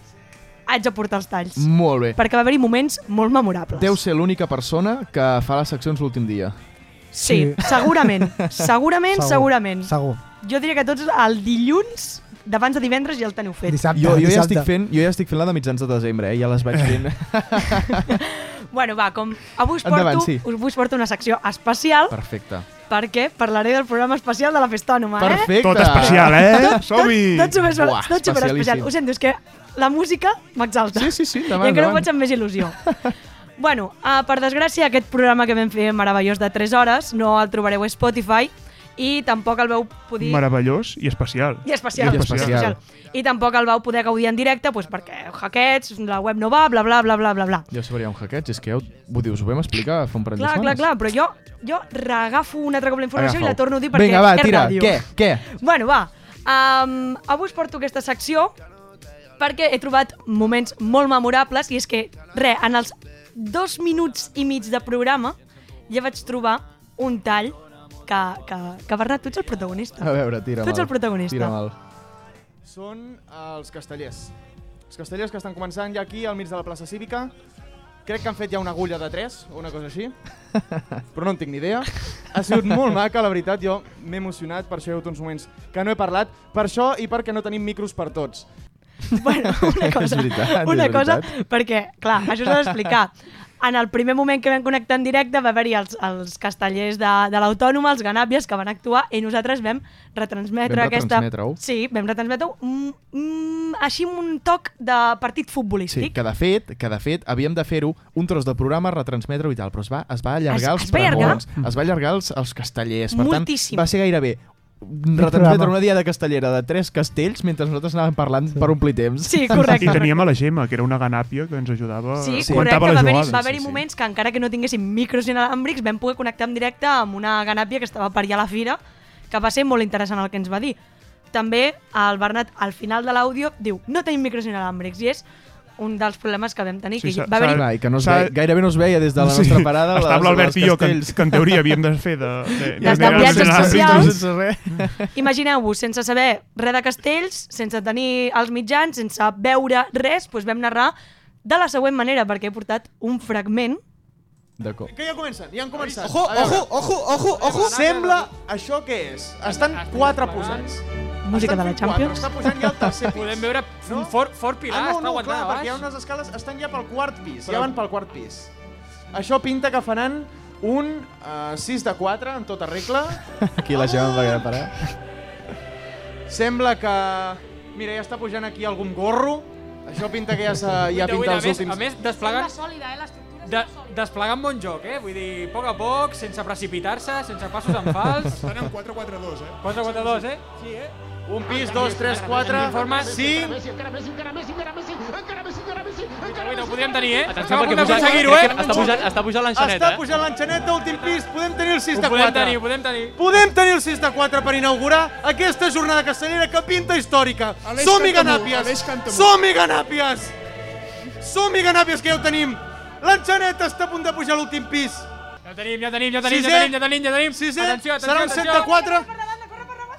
Speaker 1: haig de portar els talls.
Speaker 4: Molt bé.
Speaker 1: Perquè va haver-hi moments molt memorables.
Speaker 4: Mm. Deu ser l'única persona que fa les seccions l'últim dia.
Speaker 1: Sí,
Speaker 6: Sí.
Speaker 1: segurament. Segurament, segurament.
Speaker 6: Segur.
Speaker 1: Jo diria que tots el dilluns, d'abans de divendres, ja el teniu fet.
Speaker 6: Dissabte,
Speaker 4: Jo, jo, ja
Speaker 6: dissabte.
Speaker 4: estic fent, jo ja estic fent la de mitjans de desembre, eh? ja les vaig fent.
Speaker 1: Bueno, va, com avui us porto,
Speaker 4: Endavant, sí.
Speaker 1: us, us porto una secció especial
Speaker 4: Perfecte.
Speaker 1: perquè parlaré del programa especial de la Festa Ànoma, eh?
Speaker 4: Perfecte.
Speaker 5: Tot especial, eh?
Speaker 1: Tot,
Speaker 5: Som-hi!
Speaker 1: tot, super,
Speaker 4: Uah,
Speaker 1: tot super especial.
Speaker 4: especialíssim.
Speaker 1: Ho sento, és que la música m'exalta.
Speaker 4: Sí, sí, sí,
Speaker 1: I
Speaker 4: endavant,
Speaker 1: encara ho
Speaker 4: endavant.
Speaker 1: faig amb més il·lusió. bueno, uh, per desgràcia, aquest programa que vam fer meravellós de 3 hores no el trobareu a Spotify i tampoc el vau poder...
Speaker 5: Meravellós i especial.
Speaker 1: I especial.
Speaker 4: I especial.
Speaker 1: I tampoc el vau poder gaudir en directe doncs, perquè hackets, la web no va, bla, bla, bla, bla, bla, bla.
Speaker 4: Ja sabria un hackeig, és que ja ho, ho dius, ho vam explicar fa un parell
Speaker 1: Clar,
Speaker 4: de
Speaker 1: clar,
Speaker 4: setmanes.
Speaker 1: clar, però jo, jo reagafo un altre cop la informació i la
Speaker 4: Agafa-ho.
Speaker 1: torno a dir perquè
Speaker 4: Vinga, va, tira,
Speaker 1: és ràdio.
Speaker 4: què, què?
Speaker 1: Bueno, va, um, avui us porto aquesta secció perquè he trobat moments molt memorables i és que, re, en els dos minuts i mig de programa ja vaig trobar un tall que, que, que Bernat, tu ets el protagonista.
Speaker 4: A veure, tira
Speaker 1: Tu ets
Speaker 4: mal.
Speaker 1: el protagonista.
Speaker 4: Tira mal.
Speaker 9: són eh, els castellers. Els castellers que estan començant ja aquí al mig de la plaça cívica. Crec que han fet ja una agulla de 3 o una cosa així, però no en tinc ni idea. Ha sigut molt maca, la veritat, jo m'he emocionat, per això hi ha hagut uns moments que no he parlat, per això i perquè no tenim micros per tots.
Speaker 1: Bueno, una cosa,
Speaker 4: veritat,
Speaker 1: una
Speaker 4: és
Speaker 1: cosa
Speaker 4: veritat.
Speaker 1: perquè, clar, això s'ha d'explicar. En el primer moment que vam connectar en directe va haver-hi els, els castellers de, de l'Autònoma, els ganàbies, que van actuar i nosaltres vam retransmetre
Speaker 4: Vam
Speaker 1: aquesta...
Speaker 4: retransmetre-ho.
Speaker 1: Sí, vam retransmetre-ho mm, mm, així amb un toc de partit
Speaker 4: Sí,
Speaker 1: futbolístic.
Speaker 4: que de fet, que de fet havíem de fer-ho un tros de programa, retransmetre-ho i tal, però es va, es va
Speaker 1: Es-
Speaker 4: allargar els
Speaker 1: es va allargar?
Speaker 4: premons, es va allargar els, els castellers. Per
Speaker 1: Moltíssim.
Speaker 4: tant, va ser gairebé retransmetre
Speaker 6: programa.
Speaker 4: una diada castellera de tres castells mentre nosaltres anàvem parlant sí. per omplir temps.
Speaker 1: Sí,
Speaker 5: I
Speaker 1: correcte.
Speaker 5: teníem a la Gemma, que era una ganàpia que ens ajudava...
Speaker 1: Ah, Sí,
Speaker 4: Sí.
Speaker 1: correcte,
Speaker 5: comentava
Speaker 1: va
Speaker 5: les
Speaker 1: haver-hi
Speaker 5: jugades.
Speaker 1: va haver
Speaker 4: sí, sí.
Speaker 1: moments que encara que no tinguéssim micros inalàmbrics vam poder connectar en directe amb una ganàpia que estava per allà a la fira, que va ser molt interessant el que ens va dir. També el Bernat, al final de l'àudio, diu no tenim micros inalàmbrics, i és un dels problemes que vam tenir.
Speaker 5: Sí,
Speaker 1: Sí, que
Speaker 5: s'ha-
Speaker 1: va haver-hi...
Speaker 4: Clar, i que no es
Speaker 5: S'ha-
Speaker 4: veia, gairebé no es veia des de la nostra parada. les-
Speaker 5: Estava l'Albert
Speaker 4: les
Speaker 5: i jo, que,
Speaker 4: castells.
Speaker 5: que en teoria havíem de fer de... de,
Speaker 1: Des de viatges
Speaker 5: escenaris.
Speaker 1: socials.
Speaker 4: Sense res.
Speaker 1: Imagineu-vos, sense saber res de castells, sense tenir els mitjans, sense veure res, doncs vam narrar de la següent manera, perquè he portat un fragment
Speaker 4: De cop.
Speaker 9: Que ja comencen, ja han començat. Ojo, ojo, ojo, ojo, ojo. Sembla, això què és? Estan quatre posats.
Speaker 1: música de
Speaker 9: Estan
Speaker 1: la
Speaker 9: fent quatre,
Speaker 1: Champions.
Speaker 9: Està posant ja el tercer pis.
Speaker 10: Podem veure
Speaker 9: No?
Speaker 10: un fort, fort pilar,
Speaker 9: ah, no,
Speaker 10: està
Speaker 9: no,
Speaker 10: aguantant
Speaker 9: clar,
Speaker 10: a baix.
Speaker 9: perquè hi ha unes escales, estan ja pel quart pis, ja van pel quart pis. Això pinta que faran un uh, 6 de 4 en tota regla.
Speaker 4: Aquí la Gemma em va quedar parar.
Speaker 9: Sembla que... Mira, ja està pujant aquí algun gorro. Això pinta que ja, s'ha- ja
Speaker 10: Vuit de vuit,
Speaker 9: pinta els
Speaker 10: a més,
Speaker 9: últims...
Speaker 10: a més, desplegant,
Speaker 8: sòlida, eh? L'estructura
Speaker 10: de, desplegant bon joc, eh? Vull dir, a poc a poc, sense precipitar-se, sense passos en fals.
Speaker 5: Estan en 4-4-2, eh?
Speaker 10: 4-4-2, eh? Sí, eh?
Speaker 9: Un pis, dos, tres, quatre,
Speaker 10: Informe,
Speaker 9: cinc...
Speaker 10: Avui no ho podríem tenir, eh?
Speaker 11: Atenció,
Speaker 10: Estava
Speaker 11: perquè
Speaker 10: a punt
Speaker 11: puja,
Speaker 10: d'aconseguir-ho, eh?
Speaker 11: està pujant, està pujant l'enxaneta,
Speaker 9: Està
Speaker 11: eh?
Speaker 9: pujant l'enxaneta, últim pis, podem tenir el 6
Speaker 10: Ho
Speaker 9: de 4.
Speaker 10: podem tenir, ho podem tenir.
Speaker 9: Podem tenir el 6 de 4 per inaugurar aquesta jornada castellera que pinta històrica. Som-hi, Ganàpies! Som-hi, Ganàpies! Som-hi, Ganàpies, que ja ho tenim! L'enxaneta està a punt de pujar a l'últim pis.
Speaker 10: Ja tenim, ja tenim, ja tenim, ja
Speaker 9: Sisè.
Speaker 10: tenim, ja tenim, ja tenim.
Speaker 9: Sisè,
Speaker 10: Atenció, atenció,
Speaker 9: serà un 7 de
Speaker 10: atenció.
Speaker 9: 4.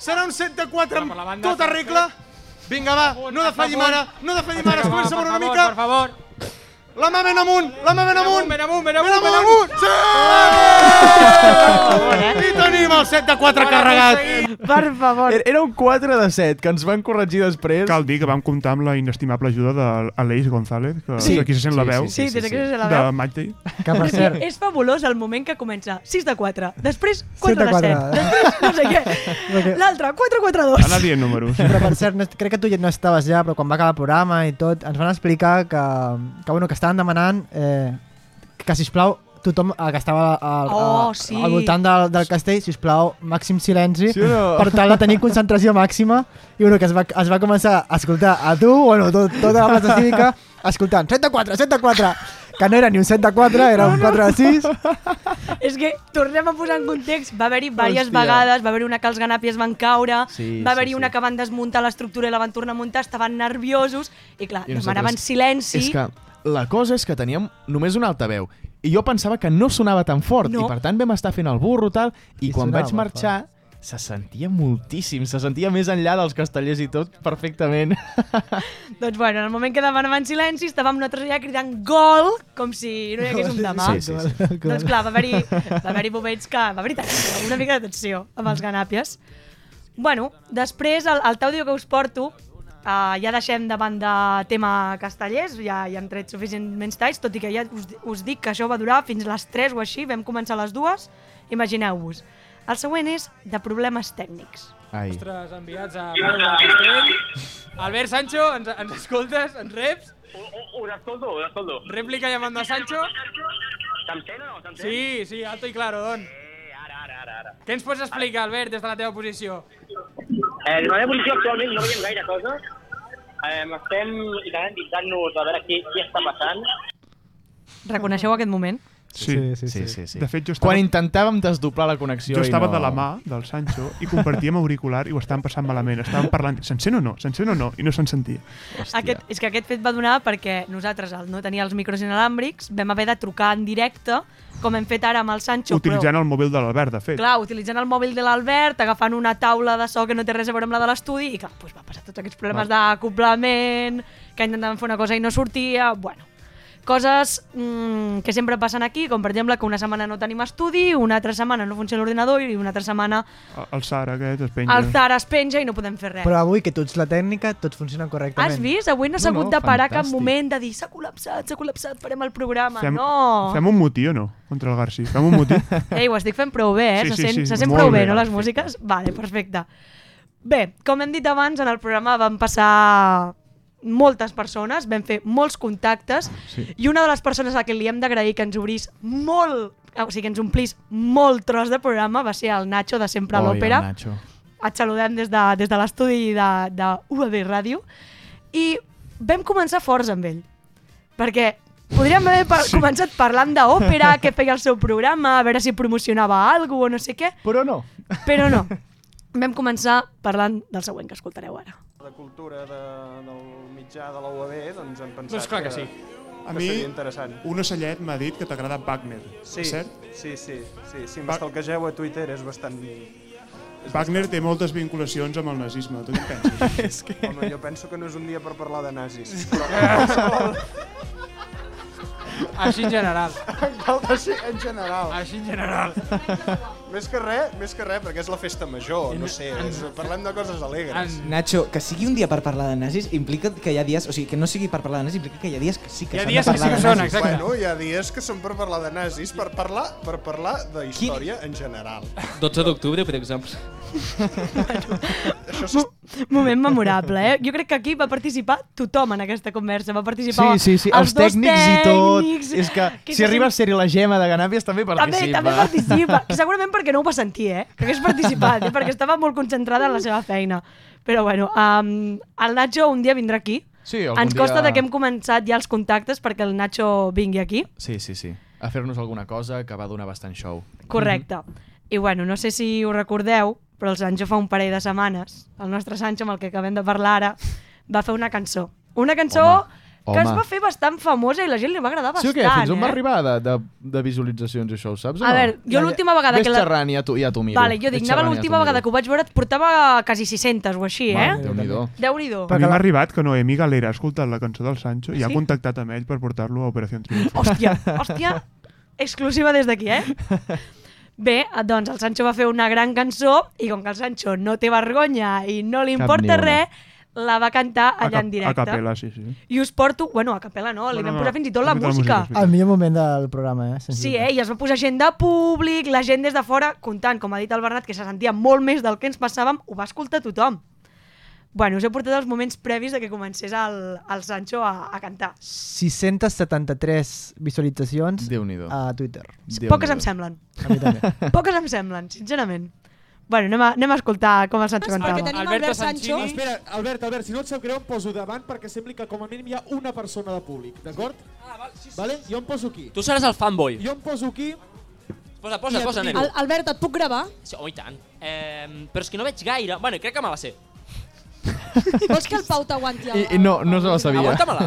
Speaker 9: Serà un 7 de 4
Speaker 10: Per la
Speaker 9: amb
Speaker 10: banda,
Speaker 9: tota
Speaker 10: per
Speaker 9: regla. Vinga, va,
Speaker 10: favor,
Speaker 9: no
Speaker 10: per
Speaker 9: defallim
Speaker 10: favor.
Speaker 9: ara, no defallim ara, es comença a
Speaker 10: per
Speaker 9: moure una
Speaker 10: favor,
Speaker 9: mica.
Speaker 10: Per favor,
Speaker 9: La mà ben amunt, la mà ben amunt.
Speaker 10: Ben amunt, ben amunt,
Speaker 9: ben
Speaker 10: ben
Speaker 9: amunt. Sí! I tenim el 7 de 4 carregat.
Speaker 1: Per favor.
Speaker 4: Era- Era un 4 de 7, que ens van corregir després.
Speaker 5: Cal dir que vam comptar amb la inestimable ajuda d'Aleix González, que
Speaker 1: Sí.
Speaker 5: sí. aquí se sent la veu,
Speaker 1: Sí, des que se la
Speaker 5: de
Speaker 1: veu.
Speaker 5: Maite.
Speaker 6: Que
Speaker 4: Ah,
Speaker 6: per cert,
Speaker 1: És fabulós el moment que comença 6 de 4, després 4
Speaker 6: Set de
Speaker 1: de 7,
Speaker 6: quatre.
Speaker 1: després no sé què, l'altre 4, 4, 2.
Speaker 5: Anar dient números.
Speaker 6: però per cert, no, crec que tu ja no estaves ja, però quan va acabar el programa i tot, ens van explicar que, que, bueno, que estaven demanant eh, que, sisplau, tothom eh, que estava al,
Speaker 1: Oh,
Speaker 6: al-
Speaker 1: sí.
Speaker 6: al voltant del, del castell, sisplau, màxim silenci,
Speaker 4: Sí o no?
Speaker 6: per tal de tenir concentració màxima. I bueno, que es va, es va començar a escoltar a tu, bueno, tot, tota la plaça cívica, escoltant 7 de 4, 7 de 4, que no era ni un 7 de 4, era un 4 de 6.
Speaker 1: És que tornem a posar en context, va haver-hi diverses
Speaker 4: Hòstia.
Speaker 1: vegades, va haver-hi una que els ganàpies van caure,
Speaker 4: Sí,
Speaker 1: va
Speaker 4: sí,
Speaker 1: haver-hi
Speaker 4: sí.
Speaker 1: una que van desmuntar l'estructura i la van tornar a muntar, estaven nerviosos i clar,
Speaker 4: I
Speaker 1: I
Speaker 4: nosaltres-
Speaker 1: demanaven silenci.
Speaker 4: És que la cosa és que teníem només un altaveu i jo pensava que no sonava tan fort
Speaker 1: No.
Speaker 4: i per tant vam estar fent el burro tal i,
Speaker 6: I
Speaker 4: quan
Speaker 6: sonava
Speaker 4: vaig marxar se sentia moltíssim, se sentia més enllà dels castellers i tot perfectament.
Speaker 1: Doncs bueno, en el moment que demanaven silenci estàvem nosaltres allà cridant gol, com si no hi hagués un demà.
Speaker 4: Sí, sí, sí.
Speaker 1: Doncs clar, va haver-hi va haver moments que... Va haver-hi tensió, una mica de tensió amb els ganàpies. Bueno, després, el, el tàudio que us porto, eh, ja deixem de banda tema castellers, ja, ja hem tret suficientment talls, tot i que ja us, us dic que això va durar fins les 3 o així, vam començar a les dues, imagineu-vos. El següent és de problemes tècnics.
Speaker 4: Ai.
Speaker 10: Ostres, enviats a Paula Castell. Albert Sancho, ens, ens escoltes? Ens reps?
Speaker 2: Us escolto, us escolto.
Speaker 10: Réplica llamando a Sancho.
Speaker 2: Se'm sent o no? Se'm sent?
Speaker 10: Sí, sí, alto i claro, don.
Speaker 2: Eh, ara, ara, ara, ara.
Speaker 10: Què ens pots explicar, Albert, des de la teva posició?
Speaker 2: Eh, la meva posició actualment no veiem gaire cosa. Eh, estem intentant-nos a veure què, què està passant.
Speaker 1: Reconeixeu aquest moment?
Speaker 5: Sí.
Speaker 6: sí,
Speaker 4: Sí, sí, sí.
Speaker 5: De fet, jo estava,
Speaker 4: Quan intentàvem desdoblar la connexió
Speaker 5: jo estava
Speaker 4: i no...
Speaker 5: de la mà del Sancho i compartíem auricular i ho estàvem passant malament. Estàvem parlant, se'n sent o no? Se'n sent o no? I no se'n sentia.
Speaker 4: Hòstia.
Speaker 1: Aquest, és que aquest fet va donar perquè nosaltres, al no tenir els micros inalàmbrics, vam haver de trucar en directe, com hem fet ara amb el Sancho,
Speaker 5: Utilitzant
Speaker 1: però...
Speaker 5: el mòbil de l'Albert, de fet.
Speaker 1: Clar, utilitzant el mòbil de l'Albert, agafant una taula de so que no té res a veure amb la de l'estudi, i clar, doncs va passar tots aquests problemes d'acoblament, que intentaven fer una cosa i no sortia, bueno. Coses mm, que sempre passen aquí, com per exemple que una setmana no tenim estudi, una altra setmana no funciona l'ordinador i una altra setmana
Speaker 5: El Sara aquest es penja.
Speaker 1: el Zara es penja i no podem fer res.
Speaker 6: Però avui que tu ets la tècnica, tot funciona correctament.
Speaker 1: Has vist? Avui no s'ha
Speaker 4: No, no,
Speaker 1: hagut de parar cap
Speaker 4: fantàstic.
Speaker 1: moment de dir s'ha col·lapsat, s'ha col·lapsat, farem el programa.
Speaker 5: Fem-
Speaker 1: no!
Speaker 5: Fem un motí o no? Contra el Garci. Fem un motí?
Speaker 1: Ei, ho estic fent prou bé, eh?
Speaker 5: Sí,
Speaker 1: se
Speaker 5: sí,
Speaker 1: sent,
Speaker 5: sí,
Speaker 1: se sent
Speaker 5: molt
Speaker 1: prou bé,
Speaker 5: bé,
Speaker 1: no, les
Speaker 5: perfecte.
Speaker 1: músiques? Vale, perfecte. Bé, com hem dit abans, en el programa van passar moltes persones, vam fer molts contactes sí. i una de les persones a qui li hem d'agrair que ens obrís molt, o sigui, que ens omplís molt tros de programa va ser el Nacho de Sempre a
Speaker 4: Oi, el
Speaker 1: l'Òpera.
Speaker 4: Nacho.
Speaker 1: et saludem des de, des de l'estudi de, de UAB Ràdio i vam començar forts amb ell perquè podríem haver par sí. començat parlant d'òpera, què feia el seu programa, a veure si promocionava alguna o no sé què,
Speaker 4: Però no.
Speaker 1: però no. Vam començar parlant del següent que escoltareu ara.
Speaker 9: De cultura de, del mitjà de la UAB, doncs hem pensat
Speaker 10: Doncs clar que sí.
Speaker 5: A
Speaker 9: que
Speaker 5: mi-
Speaker 9: seria interessant.
Speaker 5: Un ocellet m'ha dit que t'agrada Wagner,
Speaker 9: Sí,
Speaker 5: és cert?
Speaker 9: sí, sí, sí, si
Speaker 5: Va-
Speaker 9: m'estalquegeu a Twitter és bastant... És
Speaker 5: Wagner té moltes vinculacions amb el nazisme, tu què en penses?
Speaker 9: bastant- Home, jo penso que no és un dia per parlar de nazis, però en qualsevol,
Speaker 10: Així en general.
Speaker 9: en, qualsevol, en general.
Speaker 10: Així en general.
Speaker 9: Més que res, més que res, perquè és la festa major, no sé, és, parlem de coses alegres.
Speaker 10: En...
Speaker 11: Nacho, que sigui un dia per parlar de nazis implica que hi ha dies... O sigui, que no sigui per parlar de nazis implica que hi ha dies que sí que
Speaker 10: Hi ha
Speaker 11: s'han de
Speaker 10: dies que
Speaker 11: parlar
Speaker 10: sí que
Speaker 11: de
Speaker 10: són,
Speaker 11: nazis.
Speaker 10: exacte.
Speaker 9: Bueno, hi ha dies que són per parlar de nazis, per parlar per parlar de història en general.
Speaker 12: 12 d'octubre, per exemple.
Speaker 9: Això s'està
Speaker 1: Moment memorable, eh? Jo crec que aquí va participar tothom en aquesta conversa. Va participar
Speaker 6: Sí, sí, sí, els,
Speaker 1: dos
Speaker 6: tècnics, i tot.
Speaker 1: tècnics,
Speaker 6: És que,
Speaker 1: que
Speaker 6: si
Speaker 1: se
Speaker 6: arriba a
Speaker 1: sent-
Speaker 6: ser la Gemma de Ganàpies també participa.
Speaker 1: També, també participa. Que segurament perquè no ho va sentir, eh? Que hagués participat, eh? perquè estava molt concentrada en la seva feina. Però bueno, um, el Nacho un dia vindrà aquí.
Speaker 4: Sí, algun
Speaker 1: Ens costa
Speaker 4: dia-
Speaker 1: de que hem començat ja els contactes perquè el Nacho vingui aquí.
Speaker 4: Sí, sí, sí. A fer-nos alguna cosa que va donar bastant show.
Speaker 1: Correcte.
Speaker 4: Mhm.
Speaker 1: I bueno, no sé si ho recordeu, però el Sancho fa un parell de setmanes, el nostre Sancho, amb el que acabem de parlar ara, va fer una cançó. Una cançó
Speaker 4: Home,
Speaker 1: que es
Speaker 4: home.
Speaker 1: va fer bastant famosa i la gent li va agradar bastant.
Speaker 4: sí o què? Fins
Speaker 1: eh?
Speaker 4: on va arribar de, de, de visualitzacions i això, ho saps o
Speaker 1: A
Speaker 4: no?
Speaker 1: veure, jo l'última vegada
Speaker 4: Ves
Speaker 1: que la-
Speaker 4: xerrant i ja t'ho ja t'ho miro.
Speaker 1: Vale, jo dic,
Speaker 4: Ves
Speaker 1: anava
Speaker 4: xerrant i ja
Speaker 1: l'última
Speaker 4: t'ho
Speaker 1: vegada que
Speaker 4: miro.
Speaker 1: ho vaig veure et portava quasi 600 o així, eh?
Speaker 4: Mare, Déu-n'hi-do.
Speaker 1: Déu-n'hi-do.
Speaker 5: A mi m'ha arribat que Noemí Galera ha escoltat la cançó del Sancho i ha
Speaker 1: Sí?
Speaker 5: contactat amb ell per portar-lo a Operació Triunfo.
Speaker 1: Hòstia, hòstia, exclusiva des d'aquí, eh? Bé, doncs el Sancho va fer una gran cançó i com que el Sancho no té vergonya i no li
Speaker 4: Cap
Speaker 1: importa
Speaker 4: ni una.
Speaker 1: res, la va cantar
Speaker 5: A
Speaker 1: allà
Speaker 5: cap-
Speaker 1: en
Speaker 5: A
Speaker 1: directe.
Speaker 5: capella, sí, sí.
Speaker 1: I us porto... Bueno, a capella no, li
Speaker 5: Bueno,
Speaker 1: vam
Speaker 5: no,
Speaker 1: posar fins i tot la
Speaker 5: fins i tot la
Speaker 1: música.
Speaker 5: música,
Speaker 6: El millor moment del programa, eh? sens
Speaker 1: Sí,
Speaker 6: dubte.
Speaker 1: eh? I es va posar gent de públic, la gent des de fora, comptant, com ha dit el Bernat, que se sentia molt més del que ens passàvem, ho va escoltar tothom. Bueno, us he portat els moments previs de que comencés el, el Sancho a, a cantar.
Speaker 6: 673 visualitzacions
Speaker 4: Déu-n'hi-do.
Speaker 1: Ah.
Speaker 6: a Twitter.
Speaker 4: Déu-n'hi-do.
Speaker 1: Poques em semblen.
Speaker 6: A mi també.
Speaker 1: Poques em semblen, sincerament. Bueno, anem a, anem a escoltar com el Sancho
Speaker 12: Perquè
Speaker 1: cantava.
Speaker 12: tenim Alberto Albert Sancho.
Speaker 9: Espera, Albert, Albert, si no et sap greu em poso davant perquè sembli que com a mínim hi ha una persona de públic, d'acord? Ah, val, sí, sí, vale? Jo em poso aquí.
Speaker 12: Tu seràs el fanboy.
Speaker 9: Jo em poso aquí,
Speaker 12: Posa, posa, posa, nen.
Speaker 11: Al- Albert, et puc gravar?
Speaker 12: Sí, home, i tant. Eh, però és que no veig gaire. Bueno, crec que me la sé.
Speaker 11: Vols que el Pau t'aguanti?
Speaker 4: I, i no, no se la sabia.
Speaker 12: Aguanta-me-la.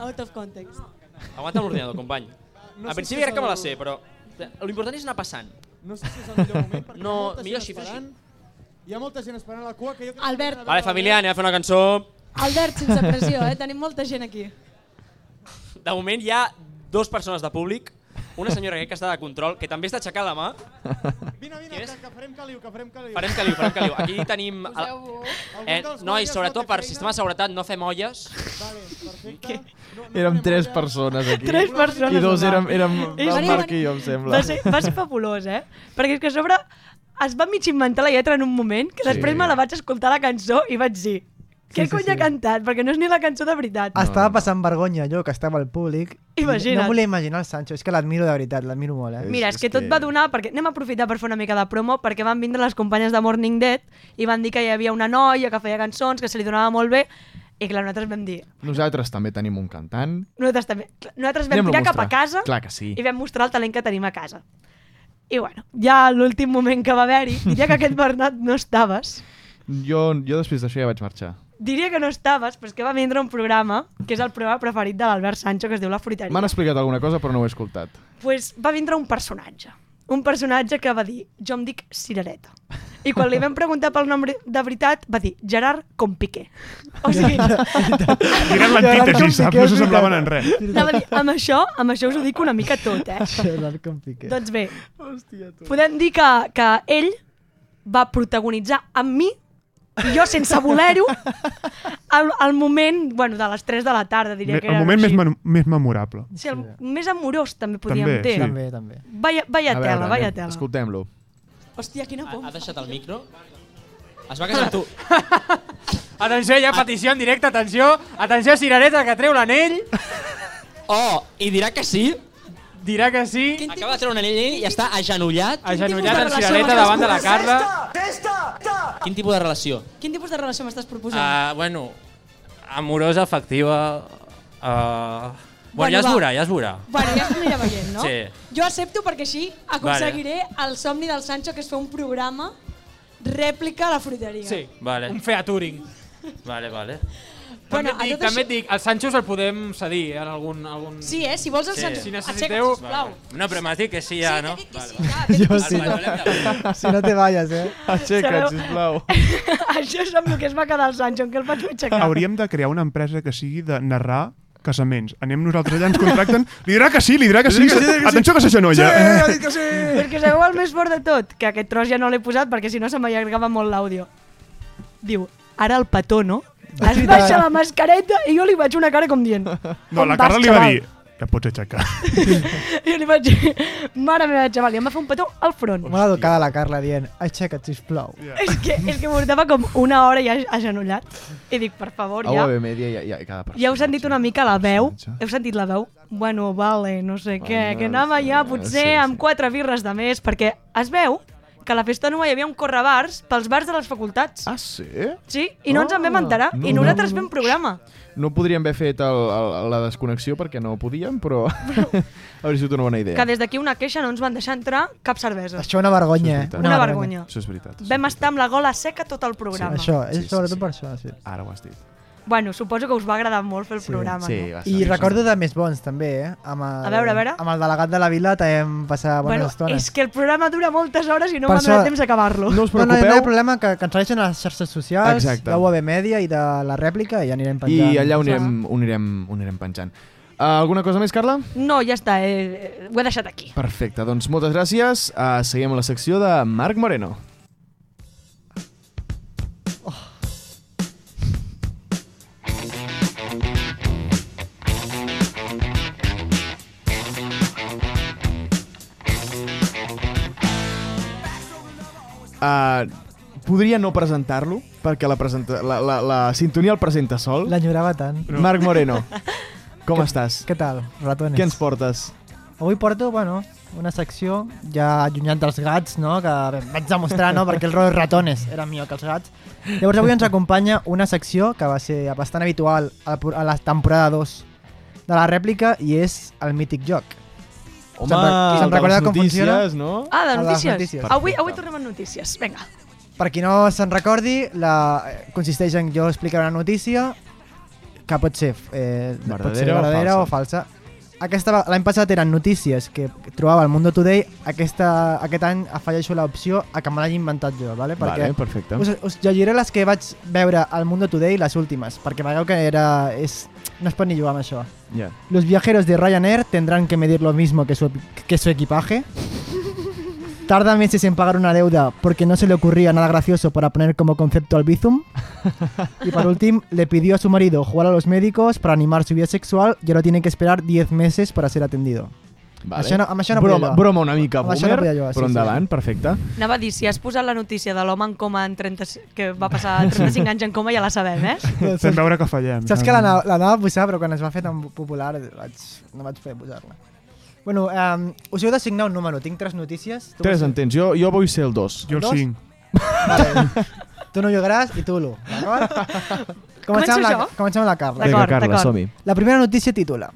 Speaker 11: Out of context.
Speaker 12: Aguanta l'ordinador, company.
Speaker 9: No
Speaker 12: No Al
Speaker 9: sé
Speaker 12: principi
Speaker 9: si
Speaker 12: crec que me la
Speaker 9: és
Speaker 12: sé,
Speaker 9: el-
Speaker 12: però l'important és anar passant.
Speaker 9: no sé si és el millor moment perquè
Speaker 12: No,
Speaker 9: hi ha molta
Speaker 12: millor
Speaker 9: gent
Speaker 12: així, fes
Speaker 9: esperant. Hi ha molta gent esperant a la cua que jo crec
Speaker 11: Albert.
Speaker 9: que...
Speaker 12: Vale, família, anem a fer una cançó.
Speaker 11: Albert, sense pressió, eh? Tenim molta gent aquí.
Speaker 12: De moment hi ha dues persones de públic una senyora crec que està de control, que també està aixecant la mà.
Speaker 9: Vine, vine, que, que farem caliu, que farem caliu.
Speaker 12: Farem caliu, farem caliu. Aquí tenim...
Speaker 9: Poseu-vos.
Speaker 12: Eh,
Speaker 9: Algun dels
Speaker 12: nois,
Speaker 9: guàrdies
Speaker 12: sobretot
Speaker 9: no té
Speaker 12: per
Speaker 9: feina?
Speaker 12: sistema de seguretat, no fem olles. Vale,
Speaker 9: perfecte.
Speaker 13: Érem tres persones aquí.
Speaker 1: Tres persones.
Speaker 13: I dos
Speaker 1: home.
Speaker 13: érem, érem
Speaker 1: És
Speaker 13: el
Speaker 1: que-
Speaker 13: Marc i jo, em sembla.
Speaker 1: Va ser, va ser fabulós, eh? Perquè és que a sobre es va mig inventar la lletra en un moment, que
Speaker 13: Sí.
Speaker 1: després me la vaig escoltar la cançó i vaig dir què
Speaker 6: Sí, sí,
Speaker 1: cony
Speaker 6: sí. Ah,
Speaker 1: ha cantat? Perquè no és ni la cançó de veritat.
Speaker 6: Estava passant vergonya jo, que estava al públic.
Speaker 1: Imagina't.
Speaker 6: No volia imaginar el Sancho, és que l'admiro de veritat, l'admiro molt, eh?
Speaker 1: Mira, és, que tot va donar, perquè anem a aprofitar per fer una mica de promo, perquè van vindre les companyes de Morning Dead i van dir que hi havia una noia que feia cançons, que se li donava molt bé, i clar, nosaltres vam dir...
Speaker 4: Nosaltres també tenim un cantant.
Speaker 1: Nosaltres, també, clar, nosaltres vam
Speaker 4: Anem-lo
Speaker 1: tirar
Speaker 4: a
Speaker 1: cap a
Speaker 4: mostrar.
Speaker 1: casa
Speaker 4: Clar que sí.
Speaker 1: i vam mostrar el talent que tenim a casa. I bueno, ja a l'últim moment que va haver-hi, diria que aquest Bernat no estaves,
Speaker 13: Jo, jo després d'això ja vaig marxar.
Speaker 1: diria que no estaves, però és que va vindre un programa, que és el programa preferit de l'Albert Sancho, que es diu La Fruiteria.
Speaker 13: M'han explicat alguna cosa, però no ho he escoltat.
Speaker 1: pues va vindre un personatge. Un personatge que va dir, jo em dic Cirereta. I quan li vam preguntar pel nom de veritat, va dir Gerard Compiqué. O sigui,
Speaker 5: Era l'antítesi, saps? No se semblaven en res.
Speaker 1: anava a dir, amb això, amb això us ho dic una mica tot, eh?
Speaker 6: Gerard Compiqué.
Speaker 1: Doncs bé,
Speaker 6: Hòstia, tu.
Speaker 1: podem dir que, que ell va protagonitzar amb mi, i jo sense voler-ho, el, el moment bueno, de les 3 de la tarda, diria que
Speaker 5: El
Speaker 1: era.
Speaker 5: moment més, mem- més memorable.
Speaker 1: Sí, el més amorós també podíem
Speaker 5: També,
Speaker 1: dir.
Speaker 5: sí. També,
Speaker 6: també.
Speaker 1: Vaya, vaya
Speaker 13: A veure,
Speaker 1: tela, vaya
Speaker 13: anem,
Speaker 1: tela.
Speaker 13: Escoltem-lo.
Speaker 1: Hòstia, quina
Speaker 12: Ha, ha deixat el micro? Es va casar amb tu.
Speaker 10: Atenció, hi ha petició en directe, atenció. Atenció, cirereta, que treu l'anell.
Speaker 12: Oh, i dirà que sí?
Speaker 10: Dirà que sí.
Speaker 12: Acaba de treure un anell i està agenollat.
Speaker 10: Agenollat en cirereta davant de la Carla.
Speaker 12: Quin tipus de relació?
Speaker 1: Quin tipus de relació m'estàs proposant?
Speaker 14: Uh, bueno, amorosa, afectiva... Uh... Bueno, ja
Speaker 1: Bueno,
Speaker 14: es
Speaker 1: va.
Speaker 14: veurà, ja es veurà.
Speaker 1: Bueno, ja s'ho anirà veient, no?
Speaker 14: Sí.
Speaker 1: Jo accepto perquè així aconseguiré el somni del Sancho, que és fer un programa rèplica a la fruiteria.
Speaker 10: Sí.
Speaker 14: Vale.
Speaker 10: Un featuring.
Speaker 14: Vale, vale.
Speaker 1: Bueno,
Speaker 10: Bueno, també et
Speaker 1: a
Speaker 10: dic,
Speaker 1: tot
Speaker 10: també
Speaker 1: això-
Speaker 10: et dic, el Sancho el podem cedir en algun... algun...
Speaker 1: Sí, eh? Si vols el Sancho,
Speaker 10: Si
Speaker 1: aixeca't,
Speaker 10: necessiteu...
Speaker 1: sisplau.
Speaker 14: No, però m'has dit que sí ja, no?
Speaker 6: Jo sí. Si no te vayas, eh?
Speaker 1: Sabeu-
Speaker 6: Aixeca't,
Speaker 13: sisplau.
Speaker 1: Això és amb el que es va quedar el Sancho, en què el vaig aixecar.
Speaker 5: Hauríem de crear una empresa que sigui de narrar casaments. Anem nosaltres allà, ens contracten... Li dirà que sí, li dirà que sí. Que... Atenció que s'aixanolla.
Speaker 6: eh,
Speaker 1: que sí! Perquè sabeu el més fort de tot? Que aquest tros ja no l'he posat perquè si no se m'allargava molt l'àudio. Diu, ara el petó, no? Es baixa la mascareta i jo li vaig una cara com dient...
Speaker 5: No,
Speaker 1: "On
Speaker 5: la
Speaker 1: vas,
Speaker 5: Carla li va
Speaker 1: xaval?"
Speaker 5: dir... La pots aixecar.
Speaker 1: I jo li vaig dir, mare meva, xaval, i em va fer un petó al front.
Speaker 6: Molt educada la Carla dient, aixeca't, sisplau.
Speaker 1: És que, és que portava com una hora ja agenollat. I dic, per
Speaker 4: Ah,
Speaker 1: favor,
Speaker 13: A
Speaker 1: ja...
Speaker 13: UAB Media ja, ja, cada persona.
Speaker 1: Ja heu sentit una mica la veu? Heu sentit la veu? Bueno, vale, no sé què, que anava ja potser amb quatre birres de més, perquè es veu que a la festa nova hi havia un correbars pels bars de les facultats.
Speaker 13: Ah, sí?
Speaker 1: Sí, i no ens en vam
Speaker 13: Ah,
Speaker 1: enterar,
Speaker 13: no,
Speaker 1: i
Speaker 13: no,
Speaker 1: nosaltres
Speaker 13: no.
Speaker 1: fem programa.
Speaker 13: No podríem haver fet el, el, la desconnexió perquè no podíem, però hauria sigut una bona idea.
Speaker 1: Que des d'aquí una queixa no ens van deixar entrar cap cervesa.
Speaker 6: Això una vergonya, eh?
Speaker 13: Veritat.
Speaker 1: Una vergonya.
Speaker 13: Això és veritat.
Speaker 1: Vam estar amb la gola seca tot el programa.
Speaker 6: Això, és sobretot per això, sí.
Speaker 4: Ah,
Speaker 13: Ara ho has dit.
Speaker 1: Bueno, suposo que us va agradar molt fer el programa, no?
Speaker 6: I recordo de més bons, també, eh? Amb el,
Speaker 1: A veure, a veure.
Speaker 6: Amb el delegat de la vila també vam passar bones
Speaker 1: Bueno,
Speaker 6: estones.
Speaker 1: és que el programa dura moltes hores i no
Speaker 6: Per
Speaker 1: m'ha donat
Speaker 6: això-
Speaker 1: temps d'acabar-lo.
Speaker 13: No us
Speaker 6: No, no, no hi ha problema que, que ens segueixin a les xarxes socials,
Speaker 13: Exacte.
Speaker 6: de UAB Media i de la rèplica i ja anirem penjant.
Speaker 13: I allà ho anirem, ho anirem, ho anirem penjant. Uh, alguna cosa més, Carla?
Speaker 1: No, ja està, eh, eh, ho he deixat aquí.
Speaker 13: Perfecte, doncs moltes gràcies. Uh, seguim amb la secció de Marc Moreno. Uh, podria no presentar-lo, perquè la, presenta la, la, la sintonia el presenta sol.
Speaker 6: L'enyorava tant.
Speaker 13: No. Marc Moreno, com estàs?
Speaker 6: Què tal, ratones?
Speaker 13: Què ens portes?
Speaker 6: Avui porto, bueno, una secció ja allunyant dels gats, no? Que vaig demostrar, no? Perquè el rollo ratones era millor que els gats. Llavors avui ens acompanya una secció que va ser bastant habitual a la, a la temporada 2 de la rèplica i és el mític joc.
Speaker 13: Home,
Speaker 6: Se'n
Speaker 13: el de
Speaker 6: recorda
Speaker 13: les
Speaker 6: com funciona?
Speaker 13: notícies, no?
Speaker 1: Ah, de
Speaker 6: El
Speaker 1: notícies.
Speaker 6: notícies.
Speaker 1: Avui, avui tornem amb notícies, vinga.
Speaker 6: Per qui no se'n recordi, la, eh, consisteix en jo explicar una notícia que pot ser, eh, pot ser
Speaker 13: Verdadera o
Speaker 6: verdadera o falsa. Aquesta va- L'any passat eren notícies que trobava al Mundo Today, aquesta, aquest any afegeixo l'opció a que me l'hagi inventat jo, vale?
Speaker 13: Vale, perfecte.
Speaker 6: Pues, Us, us llegiré les que vaig veure al Mundo Today, les últimes, perquè veieu que era, és, No es pot ni jugar amb això.
Speaker 13: Ja.
Speaker 6: Los viajeros de Ryanair tendrán que medir lo mismo que su, que su equipaje. Tarda meses en pagar una deuda porque no se le ocurría nada gracioso para poner como concepto al Bizum. Y por último, le pidió a su marido jugar a los médicos para animar su vida sexual y ahora tiene que esperar 10 meses para ser atendido.
Speaker 13: Vale.
Speaker 6: Això no- amb això no podia
Speaker 13: broma,
Speaker 6: jugar.
Speaker 13: broma una mica
Speaker 6: Amb
Speaker 13: boomer,
Speaker 6: això no podia jugar, sí,
Speaker 13: però
Speaker 6: sí.
Speaker 13: endavant, perfecte.
Speaker 1: Anava a dir, si has posat la notícia de l'home en coma en 30, que va passar 35 anys en coma, ja la sabem, eh?
Speaker 5: Fem veure que fallem.
Speaker 6: Saps que l'ana- l'anava a posar, però quan es va fer tan popular vaig, no vaig poder posar-la. Bueno, um, us heu d'assignar un número. Tinc tres notícies. Tu
Speaker 13: Tres
Speaker 6: vols-
Speaker 13: en tens, jo, jo vull ser el dos.
Speaker 6: Jo el Dos? cinc. Vale. tu no jugaràs i tu l'1, d'acord?
Speaker 1: Començo
Speaker 6: amb la,
Speaker 1: jo?
Speaker 6: comencem amb la Carla.
Speaker 13: Vinga, D'acord, Carla, d'acord. som-hi.
Speaker 6: La primera noticia titula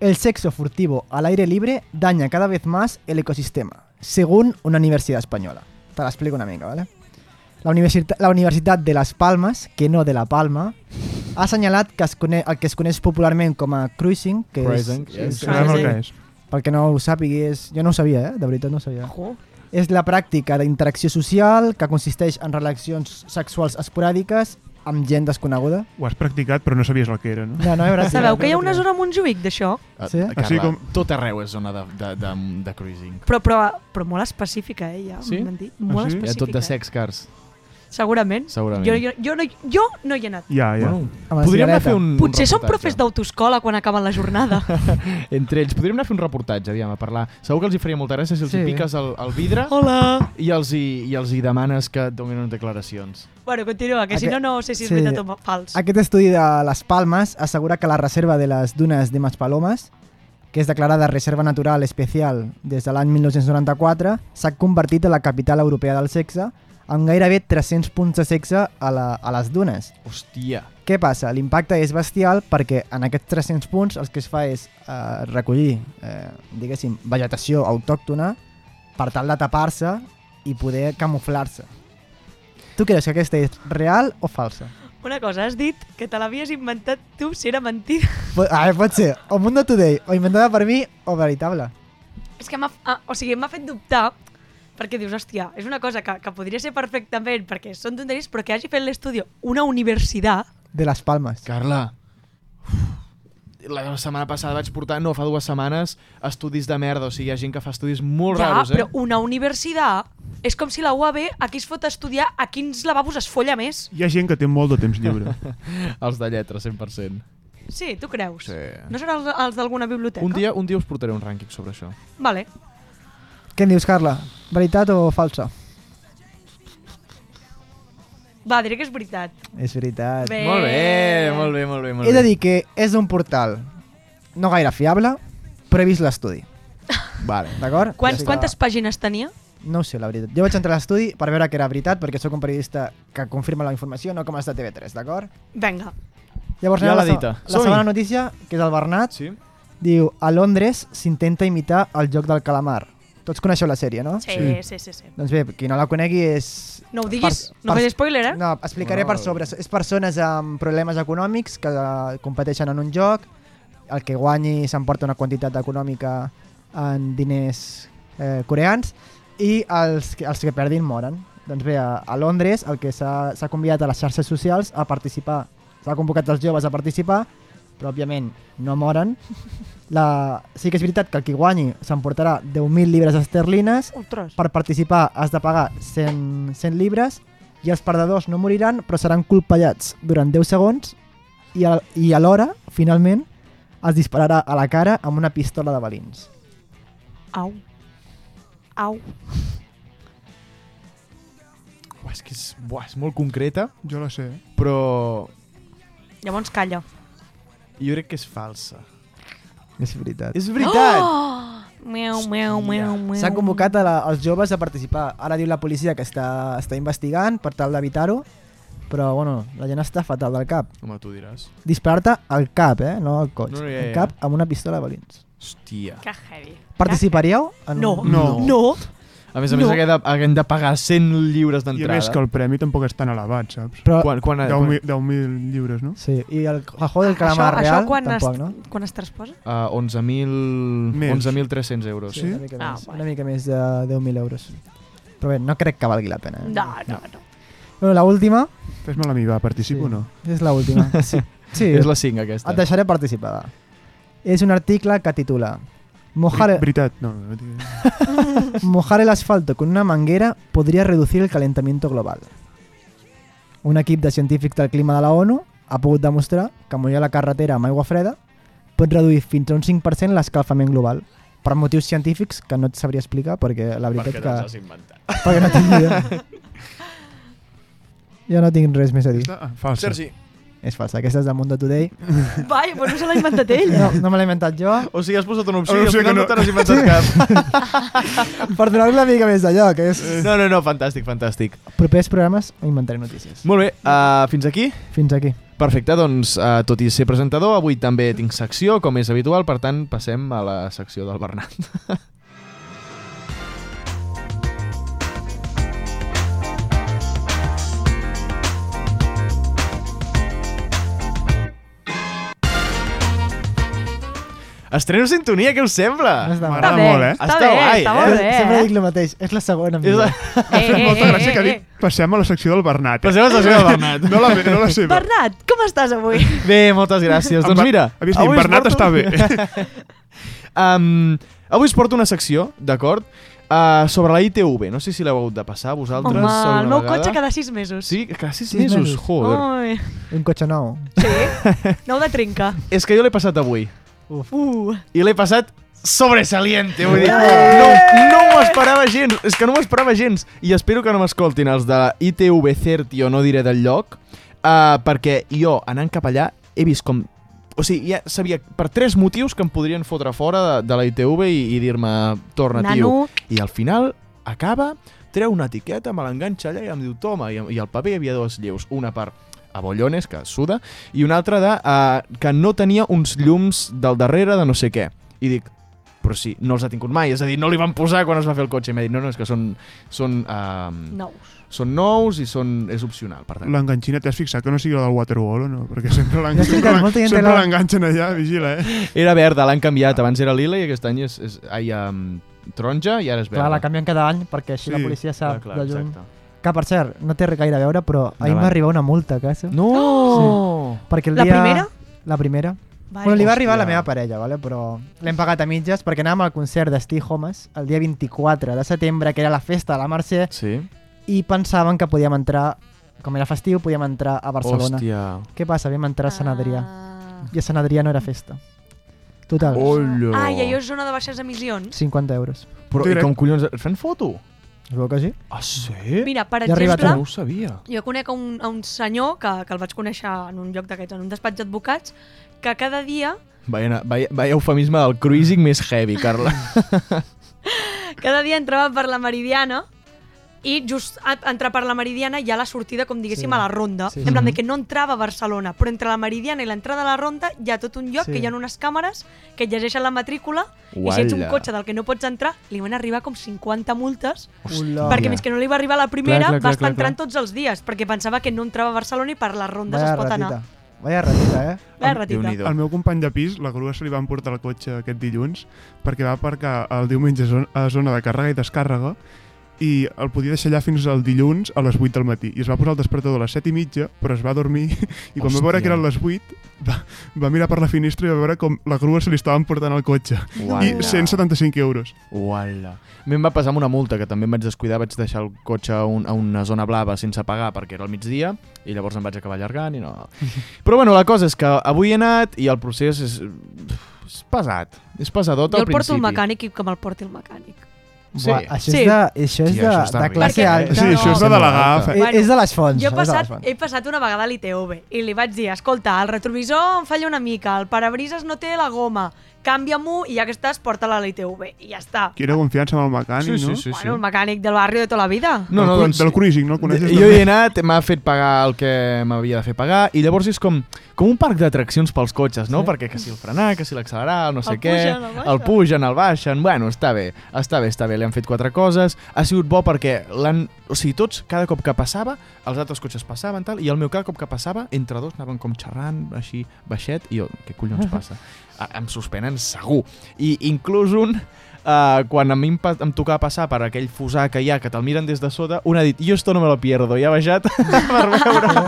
Speaker 6: El sexo furtivo al aire libre daña cada vez más el ecosistema, según una universidad española. Te la explico una mica, ¿vale? La, universitat, la Universitat de Las Palmas, que no de La Palma, ha assenyalat que es coneix, el que es coneix popularment com a cruising, que
Speaker 13: Cruising,
Speaker 6: és...
Speaker 13: yes. Sabem el que és.
Speaker 6: Pel que no ho sàpigui, és... Jo no ho sabia, eh? De veritat no ho sabia. És la pràctica d'interacció social que consisteix en relacions sexuals esporàdiques amb gent desconeguda.
Speaker 5: Ho has practicat, però no sabies el que era, no?
Speaker 6: No, no, era
Speaker 1: Sabeu que hi ha una zona a Montjuïc d'això?
Speaker 6: Sí?
Speaker 13: Uh, Carla,
Speaker 5: Així com-
Speaker 13: Tot arreu és zona de, de, de, de cruising.
Speaker 1: Però, però, però molt específica, eh, ja.
Speaker 13: Sí?
Speaker 1: m'han dit. Molt
Speaker 13: Hi ha
Speaker 1: específica.
Speaker 13: tot de sex cars.
Speaker 1: Segurament.
Speaker 13: Segurament.
Speaker 1: Jo, jo, jo, no, jo no hi he anat.
Speaker 13: Ja, ja. Bueno,
Speaker 6: Amb la
Speaker 13: podríem anar a
Speaker 6: cirereta.
Speaker 13: fer un,
Speaker 1: Potser
Speaker 13: un
Speaker 1: són
Speaker 13: reportatge.
Speaker 1: profes d'autoscola quan acaben la jornada.
Speaker 13: Entre ells, podríem anar a fer un reportatge, aviam, a parlar. Segur que els hi faria molta gràcia si els
Speaker 1: Sí.
Speaker 13: sí. hi piques el, el vidre
Speaker 1: Hola.
Speaker 13: i els hi, i els hi demanes que et donin unes declaracions.
Speaker 1: bueno, continua, que si no,
Speaker 6: Aquest-
Speaker 1: no sé si és
Speaker 6: sí.
Speaker 1: sí. veritat o fals.
Speaker 6: Aquest estudi de les Palmes assegura que la reserva de les dunes de Maspalomas, que és declarada Reserva Natural Especial des de l'any 1994, s'ha convertit en la capital europea del sexe, amb gairebé 300 punts de sexe a, la, a les dunes.
Speaker 13: Hòstia.
Speaker 6: Què passa? L'impacte és bestial perquè en aquests 300 punts el que es fa és eh, recollir, eh, diguéssim, vegetació autòctona per tal de tapar-se i poder camuflar-se. Tu creus que aquesta és real o falsa?
Speaker 1: Una cosa, has dit que te l'havies inventat tu si era mentida.
Speaker 6: Pot, a veure, pot ser o Mundo Today, o inventada per mi, o veritable.
Speaker 1: És que m'ha... ah, O sigui, m'ha fet dubtar perquè dius, hòstia, és una cosa que, que podria ser perfectament perquè són tonteries, però que hagi fet l'estudi una universitat...
Speaker 6: De les Palmes.
Speaker 13: Carla, la setmana passada vaig portar, no, fa dues setmanes, estudis de merda. O sigui, hi ha gent que fa estudis molt
Speaker 1: ja,
Speaker 13: raros, eh?
Speaker 1: però una universitat és com si la UAB aquí es fot a estudiar a quins lavabos es folla més.
Speaker 5: Hi ha gent que té molt de temps lliure.
Speaker 13: els de lletres, 100%.
Speaker 1: Sí, tu creus?
Speaker 13: Sí.
Speaker 1: No seran els, els d'alguna biblioteca?
Speaker 13: Un dia, un dia us portaré un rànquing sobre això.
Speaker 1: Vale.
Speaker 6: Què en dius, Carla? Veritat o falsa?
Speaker 1: Va, diré que és veritat.
Speaker 6: És veritat.
Speaker 1: Bé. Molt bé,
Speaker 13: molt bé, molt bé.
Speaker 6: He de dir que és d'un portal no gaire fiable, però he vist l'estudi.
Speaker 13: Vale.
Speaker 6: D'acord?
Speaker 1: Quant,
Speaker 6: Així que
Speaker 1: quantes pàgines tenia?
Speaker 6: No ho sé, la veritat. Jo vaig entrar a l'estudi per veure que era veritat, perquè sóc un periodista que confirma la informació, no com els de TV3, d'acord?
Speaker 1: Vinga.
Speaker 6: Llavors,
Speaker 13: Ja
Speaker 6: anem a
Speaker 13: l'ha
Speaker 6: se-
Speaker 13: dita.
Speaker 6: la
Speaker 13: Som-hi.
Speaker 6: segona notícia, que és el Bernat,
Speaker 13: sí?
Speaker 6: diu a Londres s'intenta imitar el joc del calamar. Tots coneixeu la sèrie, no?
Speaker 1: Sí, sí, sí. sí.
Speaker 6: Doncs bé, qui no la conegui és...
Speaker 1: No ho diguis, no facis spoiler, eh?
Speaker 6: No, explicaré per sobre. És persones amb problemes econòmics que eh, competeixen en un joc, el que guanyi s'emporta una quantitat econòmica en diners eh, coreans i els, que- els que perdin moren. Doncs bé, a, a Londres el que s'ha s'ha convidat a les xarxes socials a participar, s'ha convocat els joves a participar, però òbviament no moren. La... Sí que és veritat que el qui guanyi s'emportarà 10.000 llibres esterlines.
Speaker 1: Ostres.
Speaker 6: Per participar has de pagar 100, 100 llibres i els perdedors no moriran però seran colpellats durant 10 segons i, a, i alhora, finalment, es dispararà a la cara amb una pistola de balins.
Speaker 1: Au. Au.
Speaker 13: Buah, és que és, buah, és molt concreta.
Speaker 5: Jo la sé.
Speaker 13: Però
Speaker 1: Llavors calla.
Speaker 13: jo crec que és falsa.
Speaker 6: És veritat.
Speaker 13: És veritat!
Speaker 1: Oh! Meu, meu, meu, meu.
Speaker 6: S'han convocat a la, els joves a participar. Ara diu la policia que està, està investigant per tal d'evitar-ho, però bueno, la gent està fatal del cap.
Speaker 13: Home, tu diràs.
Speaker 6: Disparar-te al cap, eh? No al coll.
Speaker 13: No,
Speaker 6: No,
Speaker 13: no, ja,
Speaker 6: ja, ja.
Speaker 13: ja.
Speaker 6: Al cap amb una pistola de balins.
Speaker 13: Hòstia.
Speaker 1: Que heavy.
Speaker 6: Participaríeu? En...
Speaker 1: No, no, no.
Speaker 13: A més a més,
Speaker 1: No.
Speaker 13: haguem de, haguem de pagar 100 lliures
Speaker 5: I a
Speaker 13: d'entrada.
Speaker 5: més que el premi tampoc és tan elevat, saps?
Speaker 6: Però-
Speaker 13: Quan- quan-
Speaker 5: 10.000 10.000 lliures, no?
Speaker 6: Sí, i el Juego del
Speaker 1: Ah, Això,
Speaker 6: Calamar
Speaker 1: això
Speaker 6: Real
Speaker 1: quan,
Speaker 6: tampoc,
Speaker 1: es,
Speaker 6: no?
Speaker 1: quan es transposa?
Speaker 4: Eh,
Speaker 13: Uh, 11.000...
Speaker 5: Més.
Speaker 13: 11.300 euros.
Speaker 6: Sí, una mica
Speaker 1: Ah,
Speaker 6: més, una mica més de 10.000 euros. Però bé, no crec que valgui la pena. Eh?
Speaker 1: No, no, no.
Speaker 6: Bueno, la última
Speaker 5: Fes-me la mi, va, participo sí. o no?
Speaker 6: és la última. Sí. Sí.
Speaker 4: És la 5, aquesta.
Speaker 6: Et deixaré participar. va. És un article que titula Mojar,
Speaker 5: Ver- Veritat, no. no tinc-
Speaker 6: mojar el asfalto con una manguera podría reducir el calentamiento global. Un equip de científics del clima de la ONU ha pogut demostrar que mullar la carretera amb aigua freda pot reduir fins a un 5% l'escalfament global per motius científics que no et sabria explicar perquè la veritat
Speaker 13: Perquè
Speaker 6: que...
Speaker 13: te'ls has inventat.
Speaker 6: Perquè no tinc idea. Jo no tinc res més a dir.
Speaker 5: Ah, falsa. Sergi.
Speaker 6: És falsa. Aquesta és del Mundo Today.
Speaker 1: Vai, però no se l'ha inventat ell.
Speaker 6: No, no me l'he inventat jo.
Speaker 4: O sigui, has posat una opció
Speaker 6: Una
Speaker 4: i al
Speaker 6: opció
Speaker 4: final
Speaker 6: que
Speaker 4: no,
Speaker 6: no.
Speaker 4: te n'has inventat
Speaker 6: cap. per donar-li una mica més de lloc. És...
Speaker 13: Eh.
Speaker 4: No, no, no, fantàstic, fantàstic.
Speaker 6: Propers programes inventaré notícies.
Speaker 4: Molt bé, uh, fins aquí?
Speaker 6: Fins aquí.
Speaker 4: Perfecte, doncs, uh, tot i ser presentador, avui també tinc secció, com és habitual, per tant, passem a la secció del Bernat. Estreno sintonia, què us sembla?
Speaker 13: Ah,
Speaker 6: No està M'agrada mal. molt, eh? Està bé, està molt bé, Sempre eh? dic
Speaker 4: el
Speaker 6: mateix, és la segona.
Speaker 4: És la...
Speaker 1: eh?
Speaker 5: M'ha fet molta Tota gràcia que ha dit passem a la secció del Bernat. Eh?
Speaker 4: Passem a la secció del Bernat.
Speaker 5: no, la, no la seva.
Speaker 1: eh. Bernat, com estàs avui?
Speaker 4: Bé, moltes gràcies.
Speaker 5: Em
Speaker 4: doncs
Speaker 5: va-
Speaker 4: mira...
Speaker 5: havies dit,
Speaker 4: avui us
Speaker 5: Bernat està bé.
Speaker 4: um, avui us porto una secció, d'acord? Uh, sobre la ITV. No sé si l'heu hagut de passar vosaltres.
Speaker 1: Home,
Speaker 4: alguna
Speaker 1: el meu
Speaker 4: vegada.
Speaker 1: cotxe cada 6 mesos.
Speaker 4: Sí, cada 6 mesos, joder.
Speaker 1: Ai,
Speaker 6: Un cotxe nou.
Speaker 1: no ho de trinca.
Speaker 4: És que jo l'he passat avui.
Speaker 6: Uf.
Speaker 1: Uh.
Speaker 4: I l'he passat sobresaliente, vull dir, no, no m'ho esperava gens, és que no m'ho esperava gens. I espero que no m'escoltin els de ITV Certi o no diré del lloc, uh, perquè jo, anant cap allà, he vist com... O sigui, ja sabia per tres motius que em podrien fotre fora de, de la ITV i, i dir-me, torna,
Speaker 1: Nano.
Speaker 4: tio. I al final, acaba, treu una etiqueta, me l'enganxa allà i em diu, toma, i, i al paper hi havia dos lleus, una per a Bollones, que suda, i una altra de uh, que no tenia uns llums del darrere de no sé què. I dic, però sí, no els ha tingut mai, és a dir, no li van posar quan es va fer el cotxe, i m'ha dit, no, no, és que són... són uh,
Speaker 1: nous.
Speaker 4: Són nous i són, és opcional, per tant.
Speaker 5: L'enganxina t'has fixat que no sigui la del Waterwall o no? Perquè sempre l'engan-
Speaker 4: veritat,
Speaker 5: sempre
Speaker 4: molta
Speaker 5: l'en-
Speaker 4: gent
Speaker 5: sempre
Speaker 4: la-
Speaker 5: l'enganxen allà, vigila, eh?
Speaker 4: Era verda, l'han canviat, abans era lila i aquest any és... és ai, um, taronja i ara és verda.
Speaker 6: Clar, la canvien cada any perquè així sí, la
Speaker 4: Sí,
Speaker 6: policia sap
Speaker 4: Ah, clar, clar,
Speaker 6: de lluny.
Speaker 4: exacte.
Speaker 6: Que, per cert, no té gaire a veure, però ahir
Speaker 4: Endavant.
Speaker 6: m'ha arribat una multa a casa.
Speaker 4: No!
Speaker 6: Sí. Perquè el
Speaker 1: La
Speaker 6: dia...
Speaker 1: primera?
Speaker 6: La primera.
Speaker 1: Vale.
Speaker 6: Bueno, li va arribar a la
Speaker 1: Hòstia.
Speaker 6: meva parella, vale? però l'hem pagat a mitges perquè anàvem al concert de Steve Homes el dia 24 de setembre, que era la festa de la Mercè,
Speaker 4: Sí.
Speaker 6: i pensaven que podíem entrar, com era festiu, podíem entrar a Barcelona.
Speaker 4: Hòstia.
Speaker 6: Què passa? Vam
Speaker 1: Ah.
Speaker 6: entrar a Sant Adrià. I a Sant Adrià no era festa. Total.
Speaker 4: Ollo.
Speaker 1: Ai, allò és zona de baixes emissions.
Speaker 6: 50 euros.
Speaker 4: Però i com collons... et Fan foto?
Speaker 6: Es veu que sí.
Speaker 4: Ah, sí?
Speaker 1: Mira, per
Speaker 6: Ja ha arribat
Speaker 1: exemple,
Speaker 6: ara. No ho
Speaker 4: sabia.
Speaker 1: jo conec a un, a un senyor que, que el vaig conèixer en un lloc d'aquests, en un despatx d'advocats, que cada dia,
Speaker 4: Vaya, vaya, vaya eufemisme del cruising més heavy, Carla.
Speaker 1: cada dia entrava per la Meridiana i just a, entrar per la Meridiana hi ha la sortida, com diguéssim,
Speaker 6: Sí.
Speaker 1: a la ronda.
Speaker 6: Sí.
Speaker 1: Sí. En plan de
Speaker 4: Mm-hmm.
Speaker 6: Mhm.
Speaker 1: que no entrava a Barcelona, però entre la Meridiana i l'entrada a la ronda hi ha tot un lloc
Speaker 6: Sí.
Speaker 1: que hi ha unes càmeres que et llegeixen la matrícula i si ets un
Speaker 4: Uala.
Speaker 1: cotxe del que no pots entrar, li van arribar com 50 multes
Speaker 4: Oh, Hòstia.
Speaker 1: perquè fins que no li va arribar la primera
Speaker 4: Clar, clar,
Speaker 1: va
Speaker 4: clar,
Speaker 1: estar
Speaker 4: clar,
Speaker 1: entrant tots els dies perquè pensava que no entrava a Barcelona i per les rondes
Speaker 6: Vaya
Speaker 1: es pot
Speaker 6: ratita.
Speaker 1: anar.
Speaker 6: Vaya ratita, eh?
Speaker 1: Vaya ratita.
Speaker 5: El, el meu company de pis, la grua se li va emportar el cotxe aquest dilluns perquè va aparcar el diumenge a zon- a zona de càrrega i descàrrega i el podia deixar allà fins al dilluns a les 8 del matí. I es va posar el despertador a les 7 i mitja, però es va dormir i quan va veure que eren les 8 va, va mirar per la finestra i va veure com la grua se li estava emportant al cotxe.
Speaker 4: Uala.
Speaker 5: I 175 euros.
Speaker 4: Uala. A mi em va passar amb una multa, que també em vaig descuidar, vaig deixar el cotxe a, un, a una zona blava sense pagar perquè era al migdia, i llavors em vaig acabar allargant i no... Però bueno, la cosa és que avui he anat i el procés és, és pesat. És pesadot
Speaker 1: Jo
Speaker 4: al
Speaker 1: el porto
Speaker 4: principi.
Speaker 1: al mecànic i que me'l porti el mecànic.
Speaker 4: Sí.
Speaker 6: Buah, això
Speaker 1: Sí.
Speaker 6: és de, això és
Speaker 4: Tia,
Speaker 6: de,
Speaker 4: això està
Speaker 6: de
Speaker 4: bé.
Speaker 6: classe
Speaker 4: Perquè-
Speaker 6: alta.
Speaker 4: Sí, això és de delegar, fe-
Speaker 6: Eh, és de les fonts.
Speaker 1: Jo he
Speaker 6: és de les
Speaker 1: passat, eh,
Speaker 6: fonts.
Speaker 1: he passat una vegada a l'ITV i li vaig dir, escolta, el retrovisor em falla una mica, el parabrises no té la goma, canvia-m'ho i ja que estàs, porta-la a l'ITV. I ja està.
Speaker 5: Quina confiança amb el mecànic,
Speaker 4: Sí, sí,
Speaker 5: no?
Speaker 4: sí,
Speaker 1: Bueno, el mecànic del barri de tota la vida.
Speaker 4: No, no,
Speaker 5: Del cru-
Speaker 4: doncs,
Speaker 5: del cruising, no el coneixes,
Speaker 4: Jo
Speaker 5: també?
Speaker 4: hi he anat, m'ha fet pagar el que m'havia de fer pagar, i llavors és com, com un parc d'atraccions pels cotxes, no? Sí. Perquè que si el frenar, que si l'accelerar, el no sé
Speaker 13: El
Speaker 4: què...
Speaker 13: pugen, el baixen.
Speaker 4: el pugen, el baixen... Bueno, està bé, està bé, està bé, li han fet quatre coses. Ha sigut bo perquè l'han... O sigui, tots, cada cop que passava, els altres cotxes passaven, tal, i el meu cada cop que passava, entre dos anaven com xerrant, així, baixet, i jo, què collons passa? eh, em suspenen segur. I inclús un, eh, quan a mi em, pa- em tocava passar per aquell fusar que hi ha, que te'l miren des de sota, un ha dit, jo esto no me lo pierdo, i ha baixat per veure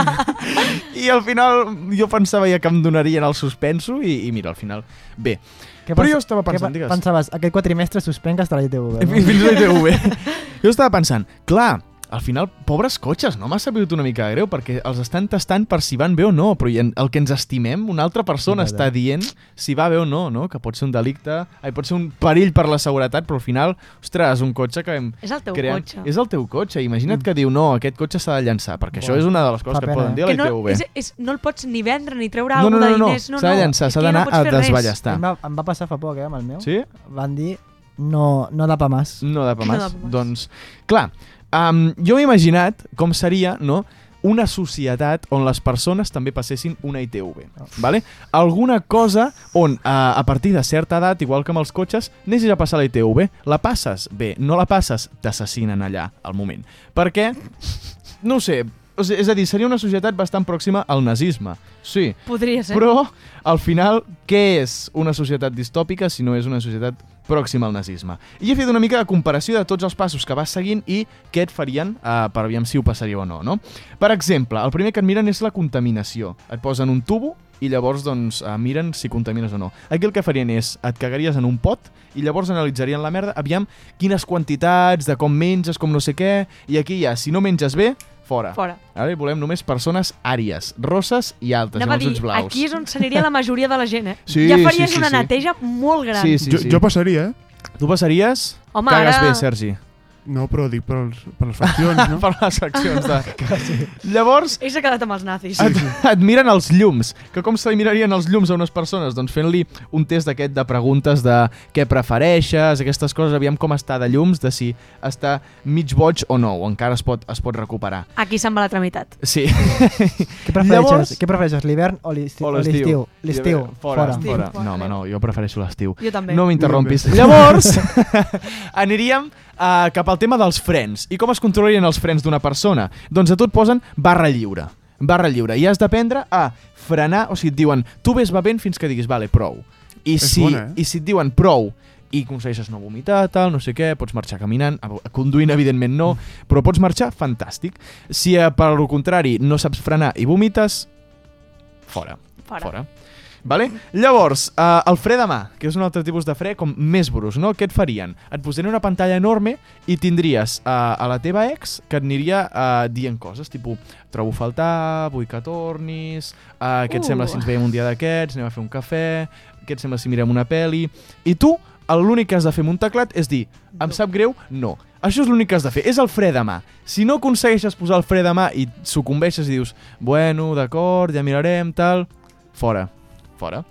Speaker 4: I al final jo pensava ja que em donarien el suspenso i, i mira, al final... Bé,
Speaker 6: Què
Speaker 4: però
Speaker 6: pens-
Speaker 4: jo estava
Speaker 6: què
Speaker 4: pensant,
Speaker 6: pe-
Speaker 4: digues.
Speaker 6: Pensaves, aquest quatrimestre suspenc hasta la ITV.
Speaker 4: I fins a l'ITV. jo estava pensant, clar, al final, pobres cotxes, no m'ha sabut una mica de greu, perquè els estan tastant per si van bé o no, però i en- el que ens estimem, una altra persona
Speaker 15: Veritat.
Speaker 4: està dient si va bé o no, no? que pot ser un delicte, ai, pot ser un perill per la seguretat, però al final, ostres, un cotxe que hem...
Speaker 1: És el teu cotxe.
Speaker 4: És el teu cotxe, imagina't que diu, no, aquest cotxe s'ha de llançar, perquè
Speaker 15: Bo.
Speaker 4: això és una de les coses
Speaker 15: Mm. Fa
Speaker 4: que
Speaker 15: pena,
Speaker 4: poden
Speaker 15: eh?
Speaker 4: dir a
Speaker 1: que no,
Speaker 4: l'ITV.
Speaker 1: és, és, no el pots ni vendre ni treure
Speaker 4: No, no,
Speaker 1: alguna
Speaker 4: no,
Speaker 1: de
Speaker 4: no,
Speaker 1: diners. No,
Speaker 4: s'ha de
Speaker 1: no,
Speaker 4: llançar,
Speaker 1: és
Speaker 4: s'ha
Speaker 1: que ja
Speaker 4: d'anar
Speaker 1: pots
Speaker 4: a
Speaker 1: fer res.
Speaker 4: desballestar.
Speaker 6: Em va, em va passar fa poc, eh, amb el meu.
Speaker 4: Sí?
Speaker 6: Van dir, no, no da pa más.
Speaker 4: No da pa más.
Speaker 6: No da pa más.
Speaker 4: Doncs, clar, um, jo m'he imaginat com seria, no?, una societat on les persones també passessin una ITV, vale? Alguna cosa on eh, a, a partir de certa edat, igual que amb els cotxes, anessis a passar la ITV, la passes? Bé, no la passes? T'assassinen allà, al moment. Perquè, no ho sé, o sigui, és a dir, seria una societat bastant pròxima al nazisme. Sí,
Speaker 1: Podria ser.
Speaker 4: però al final, què és una societat distòpica si no és una societat pròxima al nazisme? I he fet una mica de comparació de tots els passos que vas seguint i què et farien eh, per aviam si ho passaria o no, no? Per exemple, el primer que et miren és la contaminació. Et posen un tubo i llavors doncs, eh, miren si contamines o no. Aquí el que farien és, et cagaries en un pot i llavors analitzarien la merda, aviam quines quantitats, de com menges, com no sé què, i aquí ja, si no menges bé, fora.
Speaker 1: Fora.
Speaker 4: Ara volem només persones àries, rosses i altes,
Speaker 1: Anava a
Speaker 4: amb els
Speaker 1: dir,
Speaker 4: ulls Doncs blaus.
Speaker 1: aquí és on s'aniria la majoria de la gent, eh?
Speaker 4: Sí,
Speaker 1: ja faries
Speaker 4: sí, sí,
Speaker 1: una
Speaker 4: sí.
Speaker 1: neteja molt gran.
Speaker 4: Sí, sí,
Speaker 5: jo,
Speaker 4: sí.
Speaker 5: jo passaria, eh?
Speaker 4: Tu passaries?
Speaker 1: Home, Cagues ara- bé,
Speaker 4: Sergi.
Speaker 5: No, però dic per, els, per les faccions, no?
Speaker 4: per les faccions de... Llavors...
Speaker 1: Ell s'ha quedat amb els nazis.
Speaker 4: Et, et miren els llums. Que com se li mirarien els llums a unes persones? Doncs fent-li un test d'aquest de preguntes de què prefereixes, aquestes coses, aviam com està de llums, de si està mig boig o no, o encara es pot, es pot recuperar.
Speaker 1: Aquí se'n va la tramitat.
Speaker 4: Sí.
Speaker 6: Què prefereixes, Llavors... què prefereixes l'hivern o l'esti- o l'estiu? L'estiu,
Speaker 4: Fora,
Speaker 6: fora.
Speaker 4: fora. No, home, no, jo prefereixo l'estiu.
Speaker 6: Jo també.
Speaker 4: No m'interrompis.
Speaker 6: Jo també.
Speaker 4: Llavors, aniríem uh, cap al tema dels frens. I com es controlarien els frens d'una persona? Doncs a tu et posen barra lliure. Barra lliure. I has d'aprendre a frenar, o sigui, et diuen, tu ves bevent fins que diguis, vale, prou. I
Speaker 15: És
Speaker 4: si,
Speaker 15: bona, eh?
Speaker 4: I si et diuen prou, i aconsegueixes no vomitar, tal, no sé què, pots marxar caminant, a- conduint evidentment no, però pots marxar, fantàstic. Si eh, per al contrari no saps frenar i vomites, fora.
Speaker 1: Fora.
Speaker 4: fora. Vale? Llavors, eh, el fre de mà, que és un altre tipus de fre com més brus, no? Què et farien? Et posarien una pantalla enorme i tindries eh, a la teva ex que et aniria eh, dient coses, tipus trobo a faltar, vull que tornis, eh, què et
Speaker 15: Uh.
Speaker 4: sembla si ens veiem un dia d'aquests, anem a fer un cafè, què et sembla si mirem una peli... I tu, l'únic que has de fer amb un teclat és dir, em sap greu, no. Això és l'únic que has de fer, és el fre de mà. Si no aconsegueixes posar el fre de mà i sucumbeixes i dius, bueno, d'acord, ja mirarem, tal... Fora, fora.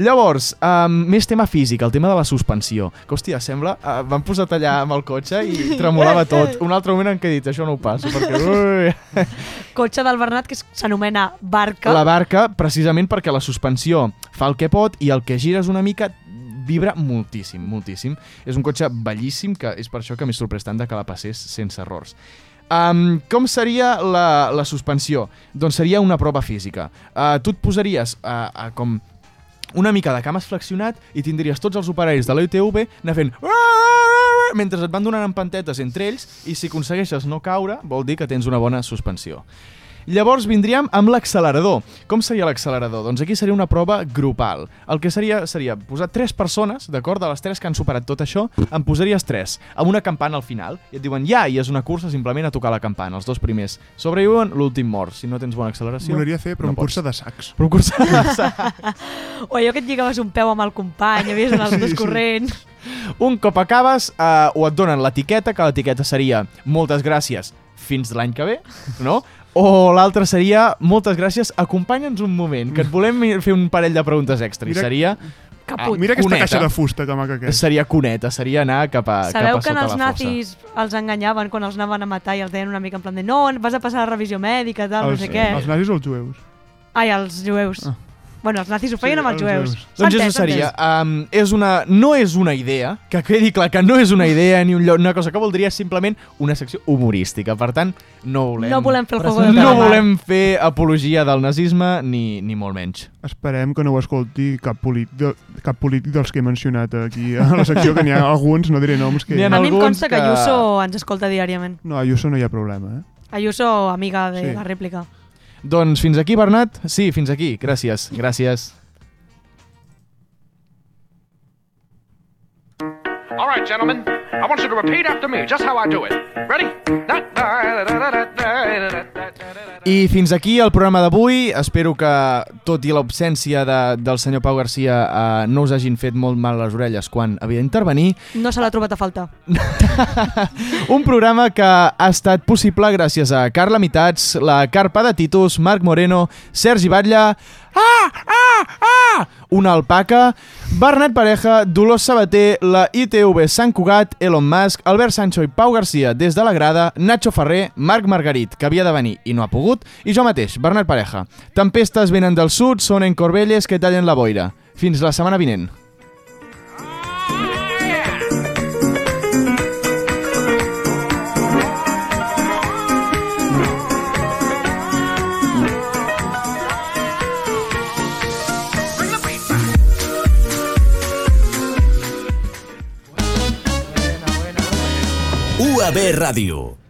Speaker 4: Llavors, um, més tema físic, el tema de la suspensió. Que, hòstia, sembla... Uh, M'han posat allà amb el cotxe i tremolava tot. Un altre moment en què he dit, això no ho passo, perquè... Ui,
Speaker 1: Cotxe del Bernat, que s'anomena barca.
Speaker 4: la barca, precisament perquè la suspensió fa el que pot i el que gires una mica vibra moltíssim, moltíssim. És un cotxe bellíssim, que és per això que m'he sorprès tant de que la passés sense errors. Um, com seria la, la suspensió? Doncs seria una prova física. Uh, tu et posaries uh, uh, com una mica de cames flexionat i tindries tots els operaris de la UTV anar fent mentre et van donant empantetes entre ells i si aconsegueixes no caure vol dir que tens una bona suspensió. Llavors vindríem amb l'accelerador. Com seria l'accelerador? Doncs aquí seria una prova grupal. El que seria seria posar tres persones, d'acord, de les tres que han superat tot això, en posaries tres, amb una campana al final, i et diuen ja, i és una cursa simplement a tocar la campana. Els dos primers sobreviuen, l'últim mor. Si no tens bona acceleració...
Speaker 5: Volaria fer, però
Speaker 4: no
Speaker 5: no un
Speaker 4: pots.
Speaker 5: cursa de sacs.
Speaker 4: Però un cursa de sacs.
Speaker 1: O allò que et lligaves un peu amb el company, havies d'anar els
Speaker 4: Sí,
Speaker 1: dos
Speaker 4: sí. Ah,
Speaker 1: corrents.
Speaker 4: Un cop acabes, eh, o et donen l'etiqueta, que l'etiqueta seria moltes gràcies fins l'any que ve, no? O l'altra seria moltes gràcies, acompanya'ns un moment, que et volem mi- fer un parell de preguntes extra.
Speaker 5: Mira-
Speaker 4: I seria...
Speaker 1: Caput.
Speaker 5: Mira aquesta caixa de fusta que maca que és.
Speaker 4: Seria cuneta, seria anar cap a, cap
Speaker 1: Sabeu
Speaker 4: a
Speaker 1: que en
Speaker 4: sota
Speaker 1: els
Speaker 4: la
Speaker 1: nazis els enganyaven quan els anaven a matar i els deien una mica en plan de
Speaker 4: Oh,
Speaker 1: no, vas a passar la revisió mèdica, tal, no sé què.
Speaker 5: els nazis o els jueus?
Speaker 1: Ai, els jueus.
Speaker 5: Ah.
Speaker 1: Bueno, els nazis ho feien amb els jueus.
Speaker 4: Doncs
Speaker 1: S'ha
Speaker 4: això
Speaker 1: entès, s'ha
Speaker 4: seria.
Speaker 1: entès.
Speaker 4: Um, és una, no és una idea, que quedi clar que no és una idea ni un lloc, una cosa que voldria és simplement una secció humorística. Per tant, no volem...
Speaker 1: No volem fer el juego
Speaker 4: no
Speaker 1: de calamar.
Speaker 4: volem fer apologia del nazisme ni, ni molt menys.
Speaker 5: Esperem que no ho escolti cap polític, de, cap polític dels que he mencionat aquí a la secció, que n'hi ha alguns, no diré noms, que...
Speaker 4: N'hi ha
Speaker 1: A mi em consta que Ayuso ens escolta diàriament.
Speaker 5: No, Ayuso no hi ha problema, eh?
Speaker 1: Ayuso, amiga de
Speaker 5: Sí.
Speaker 1: la rèplica.
Speaker 4: Doncs fins aquí, Bernat. Sí, fins aquí. Gràcies, gràcies.
Speaker 13: All right, gentlemen, I want you to repeat after me just how I do it. Ready? Da, da, da, da, da, da, da, da.
Speaker 4: I fins aquí el programa d'avui. Espero que, tot i l'absència de, del senyor Pau Garcia, eh, no us hagin fet molt mal les orelles quan havia d'intervenir.
Speaker 1: No
Speaker 4: Ah.
Speaker 1: se l'ha trobat a faltar.
Speaker 4: Un programa que ha estat possible gràcies a Carla Mitats, la Carpa de Titus, Marc Moreno, Sergi Batlle, ah, ah, ah, una alpaca, Bernat Pareja, Dolors Sabater, la ITV Sant Cugat, Elon Musk, Albert Sancho i Pau Garcia des de la grada, Nacho Ferrer, Marc Margarit, que havia de venir i no ha pogut, i jo mateix, Bernat Pareja. Tempestes venen del sud, són encorbelles que tallen la boira. Fins la setmana vinent.
Speaker 12: UAB Ràdio,